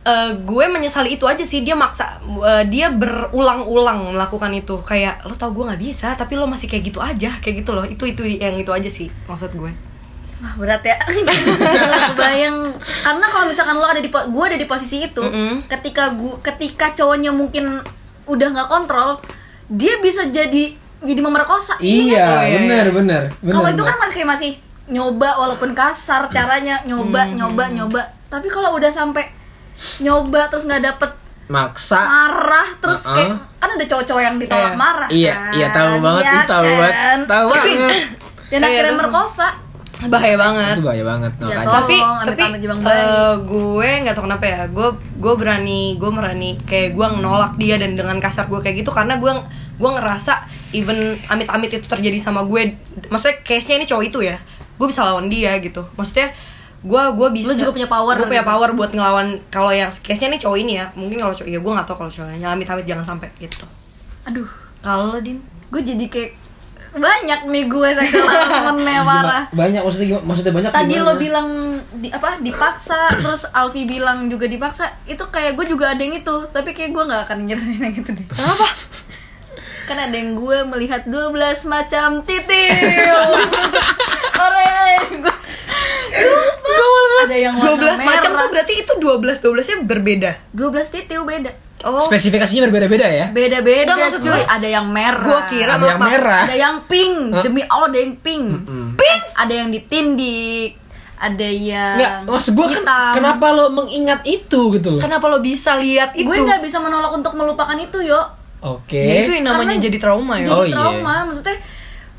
Speaker 2: eh, gue menyesali itu aja sih dia maksa eh, dia berulang-ulang melakukan itu kayak lo tau gue nggak bisa tapi lo masih kayak gitu aja kayak gitu loh itu itu yang itu aja sih maksud gue
Speaker 3: Wah berat ya. Nggak Kebayang karena kalau misalkan lo ada di po- gue ada di posisi itu,
Speaker 2: Mm-mm.
Speaker 3: ketika gue ketika cowoknya mungkin udah nggak kontrol, dia bisa jadi jadi memerkosa.
Speaker 1: Iya,
Speaker 2: Oh,
Speaker 1: benar
Speaker 2: iya, iya.
Speaker 1: benar. benar,
Speaker 3: kan, Kalau itu
Speaker 1: benar.
Speaker 3: kan masih kayak masih nyoba walaupun kasar caranya nyoba nyoba nyoba. Tapi kalau udah sampai nyoba terus nggak dapet
Speaker 1: maksa
Speaker 3: marah terus
Speaker 1: Ah. Uh-uh.
Speaker 3: kayak kan ada cowok-cowok yang ditolak
Speaker 2: Iya.
Speaker 3: marah.
Speaker 1: Iya,
Speaker 3: kan?
Speaker 1: iya tahu banget,
Speaker 3: Iya
Speaker 1: ih, tahu
Speaker 3: kan?
Speaker 1: banget. Tahu banget.
Speaker 3: Dan
Speaker 2: Iya,
Speaker 3: akhirnya
Speaker 2: terus-
Speaker 3: merkosa.
Speaker 2: bahaya banget
Speaker 1: Itu bahaya banget
Speaker 3: Iya,
Speaker 1: makanya.
Speaker 3: tolong.
Speaker 2: tapi
Speaker 3: ambil
Speaker 2: tapi
Speaker 3: tangan jebang
Speaker 2: eh,
Speaker 3: bayi.
Speaker 2: gue nggak tau kenapa ya gue gue berani gue berani kayak gue nolak dia dan dengan kasar gue kayak gitu karena gue gue ngerasa even amit-amit itu terjadi sama gue maksudnya case nya ini cowok itu ya gue bisa lawan dia gitu maksudnya gue gue bisa
Speaker 3: Lu juga punya power
Speaker 2: gue punya
Speaker 3: gitu.
Speaker 2: power buat ngelawan kalau yang case nya ini cowok ini ya mungkin kalau cowok ya gue nggak tau kalau cowoknya amit-amit jangan sampai gitu
Speaker 3: Aduh.
Speaker 2: kalau lo, din
Speaker 3: gue jadi kayak banyak nih gue sexual harassmentnya parah
Speaker 1: Gimana- Banyak maksudnya gimana? Maksudnya banyak
Speaker 3: ya, tadi
Speaker 1: gimana?
Speaker 3: lo bilang di apa dipaksa terus Alfi bilang juga dipaksa itu kayak gue juga ada yang itu tapi kayak gue nggak akan nyeritain yang itu deh
Speaker 2: apa
Speaker 3: kan ada yang gue melihat 12 macam titil orang gue ada yang
Speaker 2: 12
Speaker 3: warna
Speaker 2: macam tuh
Speaker 3: merah
Speaker 2: berarti itu 12 12 nya berbeda
Speaker 3: 12 titil beda
Speaker 2: oh
Speaker 1: spesifikasinya berbeda-beda ya.
Speaker 3: beda beda
Speaker 2: Nggak, maksud
Speaker 3: cuy
Speaker 2: gue-
Speaker 3: ada yang merah
Speaker 2: gue kira
Speaker 1: Ada yang
Speaker 2: apa-
Speaker 1: merah.
Speaker 3: ada yang pink
Speaker 1: Hah?
Speaker 3: demi Allah ada yang pink
Speaker 1: Mm.
Speaker 3: pink ada yang ditindik ada yang
Speaker 1: Nggak, maksud gue kan,
Speaker 3: hitam.
Speaker 1: kenapa lo mengingat itu gitu loh?
Speaker 2: Kenapa lo bisa lihat itu?
Speaker 3: gue nggak bisa menolak untuk melupakan itu yo
Speaker 1: Oke.
Speaker 2: Ya, itu yang namanya
Speaker 3: Iya, Karena-
Speaker 2: jadi trauma ya.
Speaker 3: jadi
Speaker 1: Oh, iya.
Speaker 3: trauma maksudnya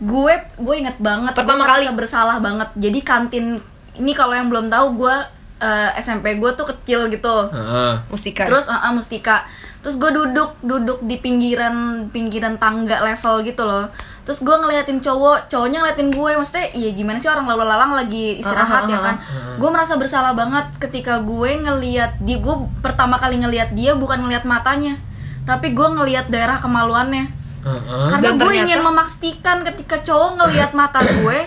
Speaker 3: gue gue inget banget
Speaker 2: Pertama
Speaker 3: gue
Speaker 2: kali.
Speaker 3: merasa bersalah banget jadi kantin ini kalau yang belum tahu gue eh, SMP gue tuh kecil
Speaker 1: Hmm.
Speaker 3: gitu
Speaker 1: Heeh.
Speaker 2: Mustika. ya? gitu.
Speaker 3: Terus ah, ah, mustika. Terus gue duduk duduk di pinggiran pinggiran tangga level gitu loh. Terus gue ngeliatin cowok, cowoknya ngeliatin gue, maksudnya iya gimana sih orang lalu lalang lagi
Speaker 2: Ah, ah,
Speaker 3: istirahat ya
Speaker 2: ah,
Speaker 3: kan? Gue merasa bersalah banget ketika gue ngeliat di gue pertama kali ngeliat dia bukan ngeliat matanya, tapi gue ngeliat daerah kemaluannya.
Speaker 1: Heeh.
Speaker 3: Karena
Speaker 2: Dan
Speaker 3: gue
Speaker 2: ternyata-
Speaker 3: ingin memastikan ketika cowok ngelihat mata gue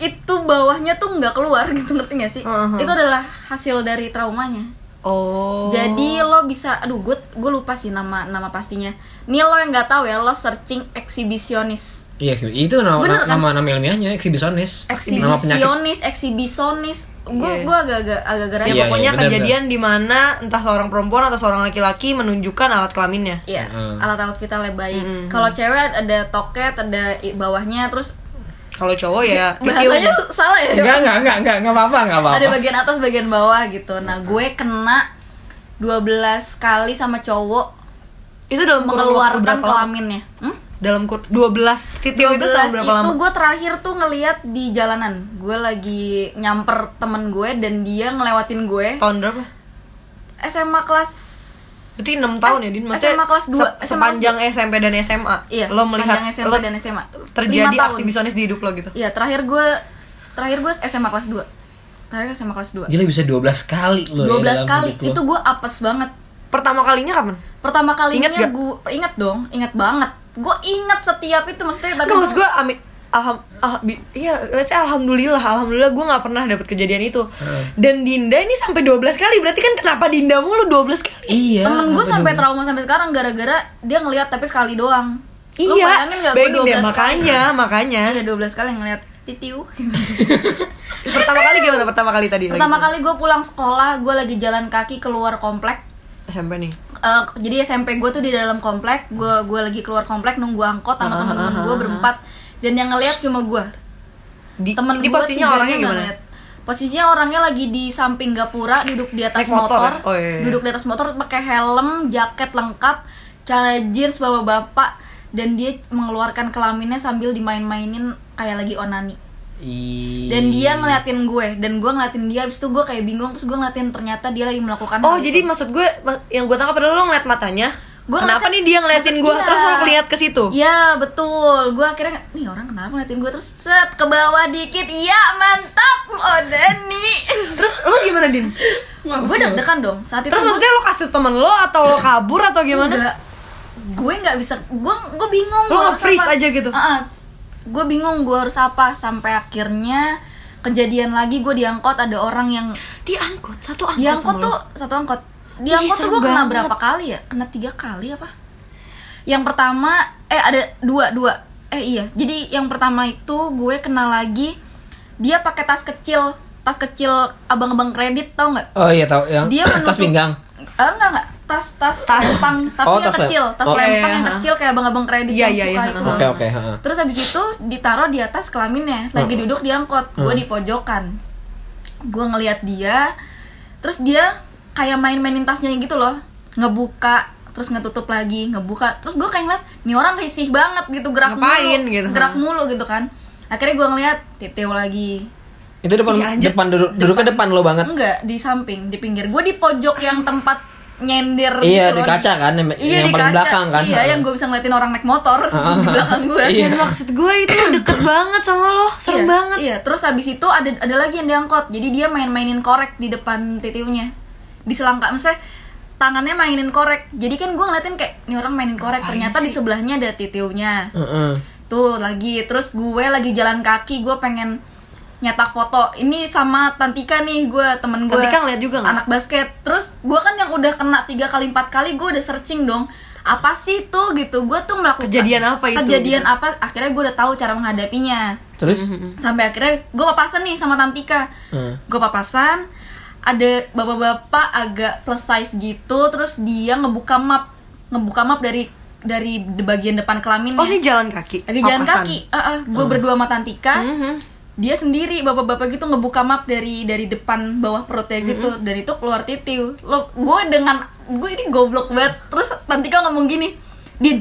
Speaker 3: itu bawahnya tuh nggak keluar gitu ngerti gak sih?
Speaker 2: Heeh.
Speaker 3: Itu adalah hasil dari traumanya.
Speaker 2: oh.
Speaker 3: Jadi lo bisa, aduh gue gue lupa sih nama nama pastinya. Nih lo yang nggak tahu ya lo searching eksibisionis,
Speaker 1: Iya sih, itu nama
Speaker 3: Bener, kan?
Speaker 1: nama, nama ilmiahnya eksibisionis. Nama penyakit.
Speaker 3: eksibisionis, eksibisonis. Gue
Speaker 2: Iya.
Speaker 3: gue agak-agak agak-agak
Speaker 2: Ya
Speaker 1: Iya,
Speaker 2: pokoknya
Speaker 1: iya, benar,
Speaker 2: kejadian di mana entah seorang perempuan atau seorang laki-laki menunjukkan alat kelaminnya.
Speaker 3: Iya,
Speaker 1: Mm.
Speaker 3: alat-alat vitalnya baik.
Speaker 2: Mm.
Speaker 3: Kalau cewek ada toket, ada i- bawahnya, terus
Speaker 2: Kalau cowok ya
Speaker 3: Iya, bahasanya
Speaker 2: ditiup.
Speaker 3: tuh salah ya.
Speaker 1: Enggak, enggak, enggak, enggak, enggak apa-apa, enggak apa-apa.
Speaker 3: Ada bagian atas, bagian bawah gitu. Nah gue kena 12 kali sama cowok
Speaker 2: itu dalam kurun waktu
Speaker 3: mengeluarkan
Speaker 2: berapa lama?
Speaker 3: kelaminnya. Hmm?
Speaker 2: Dalam kur 12 titik itu selama
Speaker 3: 12
Speaker 2: berapa
Speaker 3: itu
Speaker 2: lama?
Speaker 3: gue terakhir tuh ngeliat di jalanan gue lagi nyamper temen gue dan dia ngelewatin gue
Speaker 2: Tahun berapa?
Speaker 3: SMA kelas
Speaker 2: Berarti 6 tahun ya, Din. Maksudnya
Speaker 3: SMA kelas
Speaker 2: se-
Speaker 3: dua, SMA kelas
Speaker 2: sepanjang SMP dan SMA.
Speaker 3: iya
Speaker 2: lo melihat
Speaker 3: sepanjang SMA
Speaker 2: lo
Speaker 3: dan SMA
Speaker 2: terjadi
Speaker 3: Lima tahun.
Speaker 2: aksi bisonis di hidup lo gitu.
Speaker 3: iya terakhir gue terakhir gue SMA kelas 2 terakhir SMA kelas 2
Speaker 1: Gila ya, bisa 12 kali loh.
Speaker 3: 12 kali itu gue apes banget
Speaker 2: Pertama kalinya kapan?
Speaker 3: pertama kalinya
Speaker 2: Ingat gak?
Speaker 3: gue inget dong inget banget gue inget setiap itu maksudnya tapi
Speaker 2: Enggak maksud gue ami alham ah, bi- iya let's say alhamdulillah alhamdulillah gue nggak pernah dapet kejadian itu
Speaker 3: Hmm.
Speaker 2: dan Dinda ini sampai 12 kali berarti kan kenapa Dinda mulu 12 kali
Speaker 1: Iya.
Speaker 3: temen gue
Speaker 1: apa
Speaker 3: sampai
Speaker 1: dulu?
Speaker 3: trauma sampai sekarang gara-gara dia ngeliat tapi sekali doang Lu
Speaker 2: iya
Speaker 3: bayangin gak
Speaker 2: bayangin
Speaker 3: gue
Speaker 2: deh
Speaker 3: 12 kali
Speaker 2: makanya makanya
Speaker 3: Iya 12 kali ngeliat titiu
Speaker 2: pertama kali gimana pertama kali tadi
Speaker 3: Pertama
Speaker 2: lagi?
Speaker 3: kali gue pulang sekolah Gue lagi jalan kaki keluar komplek
Speaker 2: SMP nih
Speaker 3: Eh, Jadi SMP gue tuh di dalam komplek Gue gua lagi keluar komplek nunggu angkot
Speaker 2: Ah,
Speaker 3: sama temen-temen gue berempat Dan yang ngeliat cuma gue
Speaker 2: di,
Speaker 3: Temen
Speaker 2: di
Speaker 3: gua
Speaker 2: posisinya
Speaker 3: tiganya
Speaker 2: orangnya
Speaker 3: nggak
Speaker 2: gimana
Speaker 3: ngeliat. Posisinya orangnya lagi di samping gapura Duduk di atas
Speaker 2: Naik motor
Speaker 3: motor,
Speaker 2: ya? Oh, iya, iya.
Speaker 3: Duduk di atas motor pakai helm, jaket lengkap Cara jeans bapak-bapak Dan dia mengeluarkan kelaminnya sambil dimain-mainin Kayak lagi onani
Speaker 1: Ih.
Speaker 3: dan dia ngeliatin gue dan gue ngeliatin dia abis itu gue kayak bingung terus gue ngeliatin ternyata dia lagi melakukan
Speaker 2: oh
Speaker 3: hal
Speaker 2: jadi
Speaker 3: itu.
Speaker 2: maksud gue ma- yang gue tangkap adalah lo ngeliat matanya
Speaker 3: gitu. Gua
Speaker 2: kenapa
Speaker 3: ngeliat-
Speaker 2: nih dia ngeliatin
Speaker 3: maksud
Speaker 2: gue
Speaker 3: dia.
Speaker 2: terus lo lihat ke situ
Speaker 3: Iya betul, gue akhirnya nih orang kenapa ngeliatin gue terus set ke bawah dikit, iya mantap, oh Dani.
Speaker 2: terus lo gimana din
Speaker 3: gue deg-degan dong saat itu
Speaker 2: terus
Speaker 3: gue
Speaker 2: maksudnya lo kasih temen lo atau lo kabur atau gimana
Speaker 3: enggak, gue nggak bisa, gue gue bingung.
Speaker 2: Lo nge-freeze aja gitu?
Speaker 3: Ah, gue bingung gue harus apa sampai akhirnya kejadian lagi gue diangkot ada orang yang
Speaker 2: diangkut satu angkot
Speaker 3: diangkut
Speaker 2: sama lo.
Speaker 3: tuh satu angkot diangkot
Speaker 2: Ih,
Speaker 3: tuh
Speaker 2: serem
Speaker 3: gue kena
Speaker 2: banget.
Speaker 3: berapa kali ya kena tiga kali apa yang pertama eh ada dua dua eh iya jadi yang pertama itu gue kena lagi dia pakai tas kecil tas kecil abang-abang kredit tau nggak
Speaker 1: Oh iya tahu yang
Speaker 3: dia menutup
Speaker 1: tas pinggang.
Speaker 3: Eh, enggak enggak tas tas lempang tapi
Speaker 1: Oh,
Speaker 3: yang
Speaker 1: tas lem-
Speaker 3: kecil tas
Speaker 1: oh,
Speaker 3: lempang
Speaker 2: iya,
Speaker 3: yang
Speaker 2: iya.
Speaker 3: kecil kayak abang-abang kredit
Speaker 2: Iya,
Speaker 3: yang
Speaker 2: iya,
Speaker 3: suka
Speaker 2: iya.
Speaker 3: itu
Speaker 1: Oke oke, heeh.
Speaker 3: terus habis itu ditaruh di atas kelaminnya lagi
Speaker 1: Hmm.
Speaker 3: duduk diangkot gue
Speaker 1: Hmm.
Speaker 3: di pojokan gue ngeliat dia terus dia kayak main-mainin tasnya gitu loh ngebuka terus ngetutup lagi ngebuka terus gue kayak ngeliat nih orang risih banget gitu gerak
Speaker 2: Ngapain
Speaker 3: mulu
Speaker 2: gitu.
Speaker 3: gerak mulu gitu kan akhirnya gue ngeliat titil lagi
Speaker 1: Itu depan
Speaker 2: Iya, anjir.
Speaker 1: depan duduk duduknya depan lo banget.
Speaker 3: enggak di samping di pinggir gue di pojok yang tempat nyender
Speaker 1: Iya,
Speaker 3: gitu
Speaker 1: di
Speaker 3: loh,
Speaker 1: kaca kan, yang-
Speaker 3: iya,
Speaker 1: yang
Speaker 3: di
Speaker 1: paling
Speaker 3: kaca.
Speaker 1: belakang kan.
Speaker 3: iya yang gue bisa ngeliatin orang naik motor di belakang gue
Speaker 1: Iya.
Speaker 2: Dan maksud gue itu deket banget sama lo, serem
Speaker 3: Iya,
Speaker 2: banget.
Speaker 3: Iya, terus habis itu ada ada lagi yang diangkot. Jadi dia main-mainin korek di depan titiunya. Di selangkah misalnya tangannya mainin korek. Jadi kan gue ngeliatin kayak nih orang mainin korek,
Speaker 2: Ngapain
Speaker 3: ternyata di
Speaker 2: sih?
Speaker 3: sebelahnya ada titiunya.
Speaker 1: Heeh.
Speaker 3: Tuh lagi, terus gue lagi jalan kaki, gue pengen nyetak foto. Ini sama Tantika nih gue temen gue.
Speaker 2: Tantika ngeliat juga nggak?
Speaker 3: Anak basket. Terus gue kan yang udah kena tiga kali empat kali, gue udah searching dong. Apa sih tuh gitu? Gue tuh melakukan
Speaker 2: Kejadian apa itu?
Speaker 3: Kejadian apa? Akhirnya gue udah tahu cara menghadapinya
Speaker 1: Terus
Speaker 3: Hmm, sampai akhirnya gue papasan nih sama Tantika
Speaker 1: Hmm.
Speaker 3: gue papasan ada bapak-bapak agak plus size gitu terus dia ngebuka map ngebuka map dari dari de- bagian depan kelaminnya
Speaker 2: Oh ini jalan kaki.
Speaker 3: lagi jalan
Speaker 2: Papasan.
Speaker 3: kan?
Speaker 2: Hmm.
Speaker 3: kaki gue berdua sama Tantika
Speaker 2: Mhm.
Speaker 3: dia sendiri bapak-bapak gitu ngebuka map dari dari depan bawah perutnya gitu
Speaker 2: Hmm.
Speaker 3: dan itu keluar titik lo gue dengan gue ini goblok banget terus Tantika ngomong gini din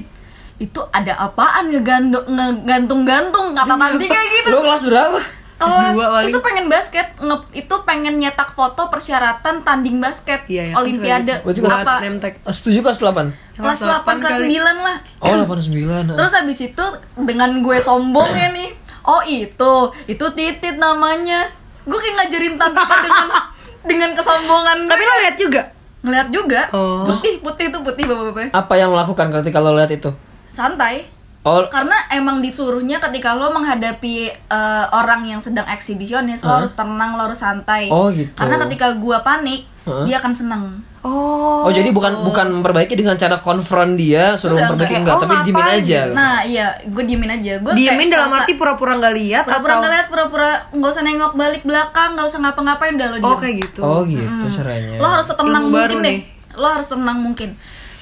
Speaker 3: itu ada apaan ngegando- ngegantung-gantung kata
Speaker 2: Iya.
Speaker 3: Tantika gitu
Speaker 4: Lo kelas berapa?
Speaker 3: kelas
Speaker 4: Dua paling.
Speaker 3: Oh, itu pengen basket nge- itu pengen nyetak foto persyaratan tanding basket
Speaker 2: Iya, iya.
Speaker 3: olimpiade
Speaker 4: Berarti kelas
Speaker 3: apa
Speaker 2: nemtek
Speaker 4: Setuju kelas 8
Speaker 3: kelas 8 kelas 9 lah
Speaker 4: Oh 89
Speaker 3: Terus habis itu dengan gue sombongnya nih, oh itu, itu titit namanya. Gue kayak ngajarin Tantika dengan dengan kesombongan. gue.
Speaker 2: tapi lo lihat juga
Speaker 3: ngeliat juga
Speaker 2: Oh.
Speaker 3: putih putih itu putih bapak-bapak.
Speaker 4: Apa yang lo lakukan ketika lo lihat itu?
Speaker 3: Santai.
Speaker 4: Oh
Speaker 3: Karena emang disuruhnya ketika lo menghadapi eh, orang yang sedang eksibisionis, lo
Speaker 4: Hah?
Speaker 3: harus tenang, lo harus santai.
Speaker 4: Oh, gitu.
Speaker 3: Karena ketika gue panik,
Speaker 4: Hah?
Speaker 3: dia akan seneng.
Speaker 2: oh
Speaker 4: Oh, jadi bukan bukan memperbaiki dengan cara konfront dia suruh
Speaker 3: Enggak,
Speaker 4: memperbaiki
Speaker 3: enggak.
Speaker 4: enggak,
Speaker 2: Oh,
Speaker 4: tapi diemin
Speaker 2: ngapain?
Speaker 4: aja.
Speaker 3: Nah iya, gue diemin aja. Gue
Speaker 2: diemin
Speaker 3: kayak
Speaker 2: dalam
Speaker 3: selasa-
Speaker 2: arti pura-pura nggak lihat
Speaker 3: pura-pura
Speaker 2: atau
Speaker 3: ngeliat pura-pura nggak usah nengok balik belakang nggak usah ngapa-ngapain udah lo diem
Speaker 2: oh kayak gitu
Speaker 4: oh gitu caranya.
Speaker 3: Hmm. lo harus tenang
Speaker 2: Ilmu
Speaker 3: mungkin
Speaker 2: baru
Speaker 3: deh
Speaker 2: nih.
Speaker 3: lo harus tenang mungkin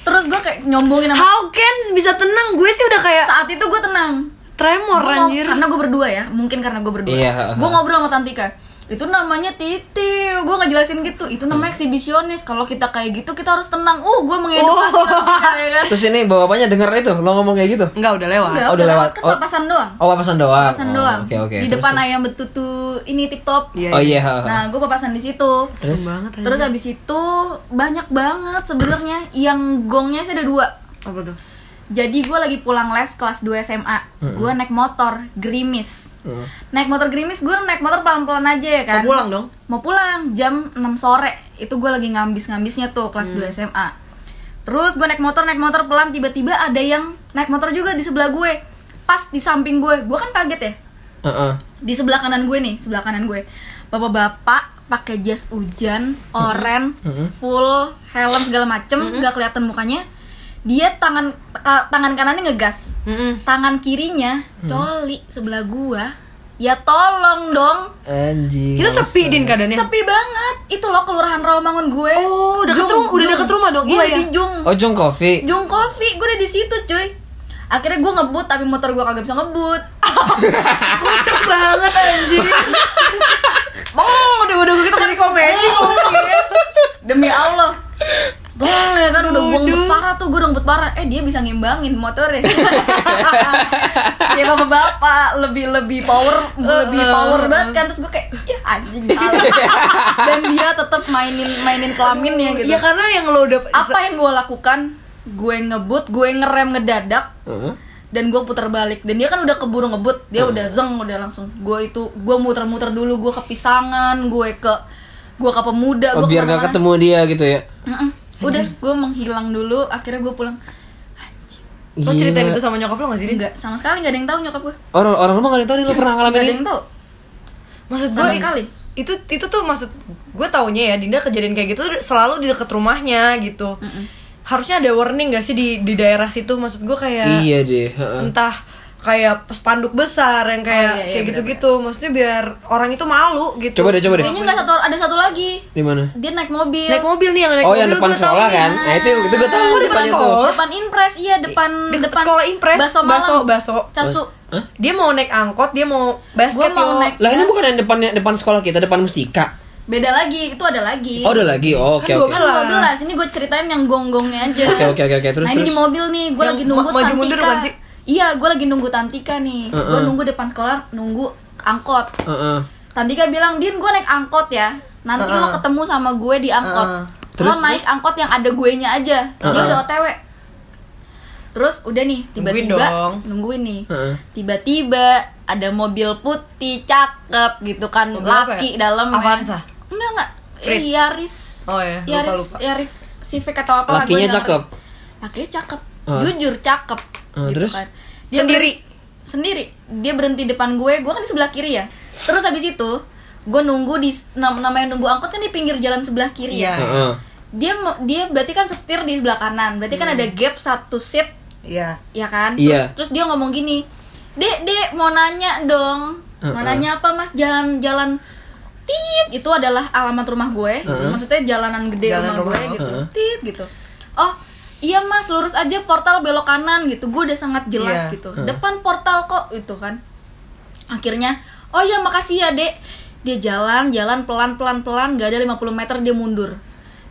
Speaker 3: terus gue kayak nyombongin sama
Speaker 2: how can bisa tenang gue sih udah kayak
Speaker 3: saat itu gue tenang
Speaker 2: tremor
Speaker 3: Gua ngob-
Speaker 2: anjir
Speaker 3: karena gue berdua ya mungkin karena gue berdua
Speaker 1: Iya, ha, ha.
Speaker 3: gue ngobrol sama Tantika itu namanya titil gue nggak jelasin gitu itu
Speaker 4: Hmm.
Speaker 3: namanya eksibisionis kalau kita kayak gitu kita harus tenang uh gue mengedukasi Tantika ya kan
Speaker 4: Terus ini bapaknya denger itu, lo ngomong kayak gitu.
Speaker 2: nggak udah lewat
Speaker 3: Enggak,
Speaker 4: Oh, udah
Speaker 3: udah lewat
Speaker 4: lewat.
Speaker 3: kan
Speaker 4: Oh.
Speaker 3: papasan doang
Speaker 4: Oh, papasan doang.
Speaker 3: papasan
Speaker 4: Oh,
Speaker 3: doang
Speaker 4: Oke, oke.
Speaker 3: di
Speaker 4: Terus,
Speaker 3: depan
Speaker 4: terus.
Speaker 3: ayam betutu ini tip top
Speaker 2: Iya,
Speaker 4: Oh iya.
Speaker 3: nah gue papasan di situ
Speaker 4: Terus
Speaker 2: banget anjir.
Speaker 3: Terus habis itu banyak banget sebenarnya yang gongnya sih ada dua.
Speaker 2: apa tuh
Speaker 3: Jadi gue lagi pulang les kelas 2 SMA. Gue naik motor gerimis.
Speaker 4: Mm.
Speaker 3: Naik motor gerimis gue naik motor pelan-pelan aja ya kan.
Speaker 2: mau pulang dong
Speaker 3: Mau pulang jam 6 sore. Itu gue lagi ngambis-ngambisnya tuh kelas
Speaker 2: Hmm.
Speaker 3: 2 SMA. Terus gue naik motor naik motor pelan tiba-tiba ada yang naik motor juga di sebelah gue. Pas di samping gue. Gue kan kaget ya
Speaker 4: Heeh.
Speaker 3: di sebelah kanan gue nih sebelah kanan gue bapak-bapak pakai jas hujan
Speaker 2: Hmm.
Speaker 3: oren full helm segala macem nggak kelihatan mukanya dia tangan ta- tangan kanannya ngegas tangan kirinya
Speaker 2: Hmm.
Speaker 3: coli sebelah gua ya tolong dong
Speaker 4: Anjing.
Speaker 2: itu sepi din keadaannya
Speaker 3: sepi kan? banget itu loh kelurahan Rawamangun gue
Speaker 2: Oh, deket rumah- udah deket rumah dong,
Speaker 3: gue
Speaker 2: iya
Speaker 3: udah
Speaker 2: ya?
Speaker 3: di Jung
Speaker 4: Oh, Jung Coffee.
Speaker 3: Jung Coffee gue udah di situ cuy akhirnya gue ngebut tapi motor gue kagak bisa ngebut
Speaker 2: kocak banget anjir
Speaker 3: Bong, udah udah gitu kan komedi Demi Allah. Bong, ya kan udah gue ngebut parah tuh, gue udah ngebut parah. Eh, dia bisa ngimbangin motornya. ya bapak-bapak lebih lebih power, lebih power banget kan terus gue kayak, ya anjing salah." Dan dia tetap mainin mainin kelaminnya gitu.
Speaker 2: ya karena yang lo udah
Speaker 3: Apa yang gue lakukan? Gue ngebut, gue ngerem ngedadak,
Speaker 4: Heeh.
Speaker 3: dan gue putar balik dan dia kan udah keburu ngebut dia udah zeng udah langsung gue itu gue muter-muter dulu gue ke pisangan gue ke gue ke pemuda
Speaker 1: Oh,
Speaker 3: gue
Speaker 1: biar nggak ketemu dia gitu ya.
Speaker 3: udah gue menghilang dulu akhirnya gue pulang
Speaker 2: lo ceritain
Speaker 4: Gila.
Speaker 2: itu sama nyokap lo nggak sih din
Speaker 3: enggak sama sekali nggak ada yang tahu nyokap gue
Speaker 4: Orang orang rumah nggak ada yang tahu nih lo pernah ngalamin
Speaker 3: nggak ada
Speaker 4: ini.
Speaker 3: yang tahu
Speaker 2: maksud gue
Speaker 3: sama sekali
Speaker 2: itu itu tuh maksud gue taunya ya Dinda kejadian kayak gitu tuh selalu di deket rumahnya gitu harusnya ada warning gak sih di di daerah situ maksud gue
Speaker 3: ya.
Speaker 2: kayak
Speaker 4: Iya deh. heeh.
Speaker 2: entah kayak spanduk besar yang kayak
Speaker 3: Oh, iya, iya,
Speaker 2: kayak gitu-gitu maksudnya biar orang itu malu gitu
Speaker 4: Coba deh, coba deh.
Speaker 3: kayaknya nggak satu ada satu lagi
Speaker 4: Di mana? ya,
Speaker 3: dia naik mobil
Speaker 2: naik mobil nih yang naik
Speaker 1: Oh,
Speaker 4: iya,
Speaker 1: yang
Speaker 2: mobil ya.
Speaker 1: depan
Speaker 2: gue tau
Speaker 1: sekolah
Speaker 2: nih.
Speaker 1: kan? Nah, itu itu gue tahu
Speaker 2: Oh, depan
Speaker 1: depannya tuh.
Speaker 2: sekolah.
Speaker 3: depan impres iya depan
Speaker 2: Di-
Speaker 3: depan
Speaker 2: sekolah impres
Speaker 3: baso malam
Speaker 2: baso,
Speaker 3: casu
Speaker 2: dia mau naik angkot dia mau basket
Speaker 3: Gua mau
Speaker 2: yo.
Speaker 3: naik-
Speaker 4: Lah ini bukan yang depan depan sekolah kita, depan mustika.
Speaker 3: beda lagi itu ada lagi
Speaker 4: Oh, ada lagi. Oh, Oke,
Speaker 2: Kan
Speaker 4: oke.
Speaker 2: dua-
Speaker 3: 12 ini gue ceritain yang gonggongnya aja
Speaker 4: Oke, oke, oke, oke. Terus,
Speaker 3: nah ini
Speaker 4: terus.
Speaker 3: di mobil nih gue
Speaker 2: Yang
Speaker 3: lagi nunggu
Speaker 2: ma- maju
Speaker 3: Tantika
Speaker 2: mundur bukan sih?
Speaker 3: iya gue lagi nunggu Tantika nih gue
Speaker 4: Heeh.
Speaker 3: nunggu depan sekolah nunggu angkot
Speaker 4: Heeh.
Speaker 3: Tantika kan bilang din gue naik angkot ya nanti lo
Speaker 2: Heeh.
Speaker 3: ketemu sama gue di angkot
Speaker 2: Heeh.
Speaker 3: lo
Speaker 4: Terus,
Speaker 3: naik angkot yang ada gue nya aja dia
Speaker 4: Heeh.
Speaker 3: udah otw terus udah nih
Speaker 2: Nungguin
Speaker 3: tiba-tiba
Speaker 2: dong.
Speaker 3: nungguin nih
Speaker 4: Heeh.
Speaker 3: tiba-tiba ada mobil putih cakep gitu kan
Speaker 2: Mobil apa ya?
Speaker 3: laki dalam
Speaker 2: Avanza?
Speaker 3: enggak enggak
Speaker 2: Frit?
Speaker 3: Eh, Yaris
Speaker 2: Oh ya, lupa,
Speaker 3: Yaris
Speaker 2: lupa.
Speaker 3: Yaris Civic atau apa
Speaker 4: Lakinya cakep?
Speaker 3: lakinya cakep
Speaker 4: Ah.
Speaker 3: jujur cakep gitu kan.
Speaker 4: Ah, terus?
Speaker 2: Sendiri?
Speaker 3: ber- sendiri dia berhenti depan gue gue kan di sebelah kiri ya terus habis itu gue nunggu di nam- namanya nunggu angkot kan di pinggir jalan sebelah kiri ya
Speaker 2: Iya.
Speaker 4: Heeh.
Speaker 3: dia mau- dia berarti kan setir di sebelah kanan berarti kan ada gap satu seat
Speaker 2: Iya.
Speaker 3: ya kan
Speaker 4: Iya.
Speaker 3: terus, terus dia ngomong gini dek dek mau nanya dong mau
Speaker 4: Heeh.
Speaker 3: nanya apa mas jalan jalan tit itu adalah alamat rumah gue maksudnya jalanan gede
Speaker 2: Jalan rumah
Speaker 3: rumah, gue
Speaker 2: lo.
Speaker 3: gitu
Speaker 4: Heeh.
Speaker 3: tit gitu oh iya mas lurus aja portal belok kanan gitu gue udah sangat jelas
Speaker 2: Iya.
Speaker 3: gitu depan portal kok itu kan akhirnya oh iya makasih ya dek dia jalan jalan pelan pelan pelan gak ada 50 meter dia mundur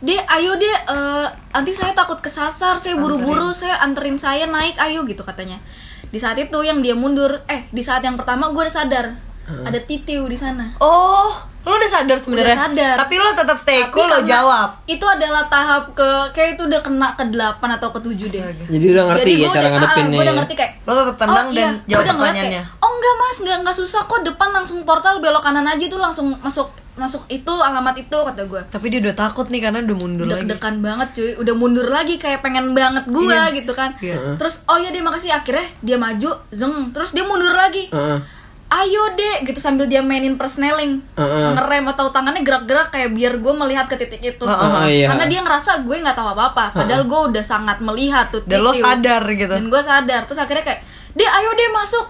Speaker 3: dek ayo dek eh, nanti saya takut kesasar saya buru buru saya anterin saya naik ayo gitu katanya di saat itu yang dia mundur eh di saat yang pertama gue udah sadar ada titiu di sana
Speaker 2: Oh, lo udah sadar sebenarnya.
Speaker 3: Udah sadar.
Speaker 2: Tapi lo tetap
Speaker 4: Eh,
Speaker 2: stay
Speaker 3: Tapi
Speaker 2: cool lo
Speaker 3: karena
Speaker 2: jawab.
Speaker 3: Itu adalah tahap ke kayak itu udah kena ke 8 atau ke 7 deh.
Speaker 4: Jadi udah ngerti
Speaker 3: Jadi
Speaker 4: ya
Speaker 3: gua
Speaker 4: cara
Speaker 3: udah- ah,
Speaker 4: ngadepinnya.
Speaker 3: Gue udah ngerti kayak
Speaker 2: Lo tetap tenang
Speaker 3: oh,
Speaker 2: dan
Speaker 3: iya.
Speaker 2: jawab
Speaker 3: Gua udah ngeliat
Speaker 2: pertanyaannya.
Speaker 3: kayak, oh enggak mas, enggak enggak susah kok depan langsung portal belok kanan aja itu langsung masuk masuk itu alamat itu kata gue.
Speaker 2: Tapi dia udah takut nih karena udah mundur lagi.
Speaker 3: Deg-degan banget cuy, udah mundur lagi kayak pengen banget gue
Speaker 2: Iya.
Speaker 3: gitu kan. Terus oh ya dia makasih akhirnya dia maju, zeng, terus dia mundur lagi.
Speaker 4: Heeh.
Speaker 3: Ayo deh gitu sambil dia mainin persneling
Speaker 4: Heeh.
Speaker 3: ngerem atau tangannya gerak-gerak kayak biar gue melihat ke titik itu
Speaker 2: Heeh,
Speaker 4: heeh, iya.
Speaker 3: karena dia ngerasa gue nggak tahu apa-apa padahal gue udah sangat melihat tuh
Speaker 2: Dan lo
Speaker 3: titik.
Speaker 2: sadar gitu.
Speaker 3: dan gue sadar terus akhirnya kayak deh ayo deh masuk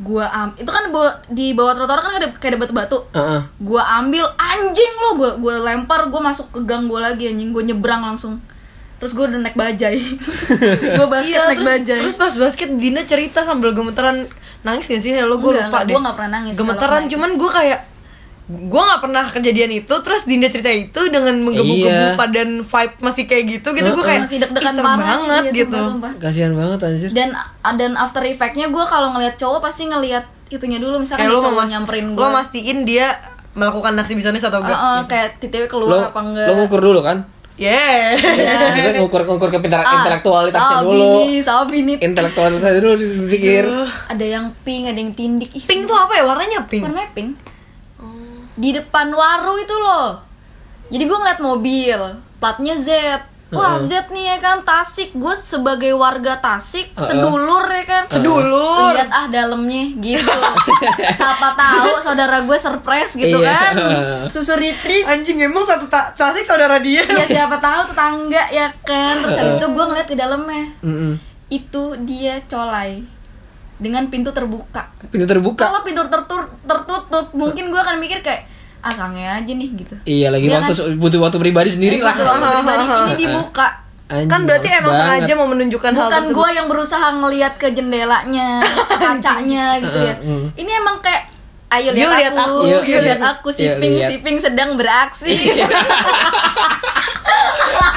Speaker 3: gue am itu kan bawa- di bawah trotoar kan ada kayak ada batu-batu
Speaker 4: Heeh.
Speaker 3: gue ambil anjing lo gue gue lempar gue masuk ke gang gue lagi anjing gue nyebrang langsung terus gue udah naik bajai gue basket
Speaker 2: Iya,
Speaker 3: naik
Speaker 2: terus,
Speaker 3: bajai
Speaker 2: terus pas basket Dina cerita sambil gemeteran nangis gak sih? Lo gue lupa
Speaker 3: Enggak, enggak,
Speaker 2: deh.
Speaker 3: gua nggak pernah nangis kalau
Speaker 2: Gemeteran
Speaker 3: kena
Speaker 2: cuman gue kayak gue nggak pernah kejadian itu terus Dinda cerita itu dengan menggebu-gebu
Speaker 4: Iya.
Speaker 2: dan vibe masih kayak gitu gitu gue
Speaker 4: Heeh.
Speaker 2: kayak
Speaker 3: masih deg-degan
Speaker 2: "Ih, serem
Speaker 3: parah
Speaker 2: banget
Speaker 3: iya,
Speaker 2: gitu
Speaker 3: sumpah, sumpah.
Speaker 4: Kasihan banget anjir.
Speaker 3: dan dan after effectnya gue kalau ngelihat cowok pasti ngelihat itunya dulu misalkan
Speaker 2: kayak
Speaker 3: dia
Speaker 2: lo
Speaker 3: cowok
Speaker 2: mau
Speaker 3: nyamperin gue
Speaker 2: lo mastiin dia melakukan aksi bisonis atau enggak
Speaker 3: kayak
Speaker 4: Lo
Speaker 3: titiknya keluar apa enggak
Speaker 4: lo ngukur dulu kan?
Speaker 2: yeah
Speaker 3: Iya.
Speaker 4: Kita ngukur ngukur ke pintar-
Speaker 3: Ah,
Speaker 4: intelektualitasnya
Speaker 3: sabi
Speaker 4: dulu.
Speaker 3: nih, sabi nih.
Speaker 4: Intelektualitasnya dulu dipikir.
Speaker 3: ada yang pink ada yang tindik Ih,
Speaker 2: pink tuh apa ya warnanya pink
Speaker 3: warnanya pink
Speaker 2: Oh.
Speaker 3: di depan waru itu loh jadi gue ngeliat mobil platnya Z Wah Z nih ya kan Tasik Gue sebagai warga Tasik Sedulur ya kan
Speaker 2: Sedulur.
Speaker 3: Lihat ah dalamnya gitu Siapa tahu saudara gue surprise gitu
Speaker 4: Iya.
Speaker 3: kan Susu reprise
Speaker 2: anjing emang satu ta- tasik saudara dia
Speaker 3: Ya siapa tahu tetangga ya kan Terus habis itu gue ngeliat ke dalamnya
Speaker 4: Heeh.
Speaker 3: Itu dia colai Dengan pintu terbuka
Speaker 4: Pintu terbuka.
Speaker 3: kalau pintu tertur- tertutup mungkin gue akan mikir kayak ah sange aja nih gitu
Speaker 4: Iya lagi
Speaker 3: Iya
Speaker 4: waktu butuh waktu pribadi
Speaker 1: Iya.
Speaker 4: sendiri lah.
Speaker 3: Waktu- waktu pribadi ini dibuka
Speaker 4: Anjing,
Speaker 2: kan berarti
Speaker 4: males
Speaker 2: emang
Speaker 4: banget.
Speaker 2: sengaja mau menunjukkan hal
Speaker 3: bukan
Speaker 2: tersebut
Speaker 3: gue yang berusaha ngelihat ke jendelanya ke kacanya gitu ya
Speaker 4: Heeh,
Speaker 3: ini emang kayak ayo
Speaker 2: Yuk,
Speaker 3: lihat
Speaker 2: lihat
Speaker 3: aku
Speaker 2: aku,
Speaker 3: yuk,
Speaker 4: yuk,
Speaker 3: lihat
Speaker 4: yuk.
Speaker 3: aku siping
Speaker 4: Yuk, lihat.
Speaker 3: siping sedang beraksi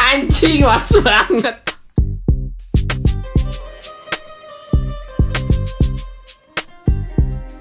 Speaker 4: Anjing males banget.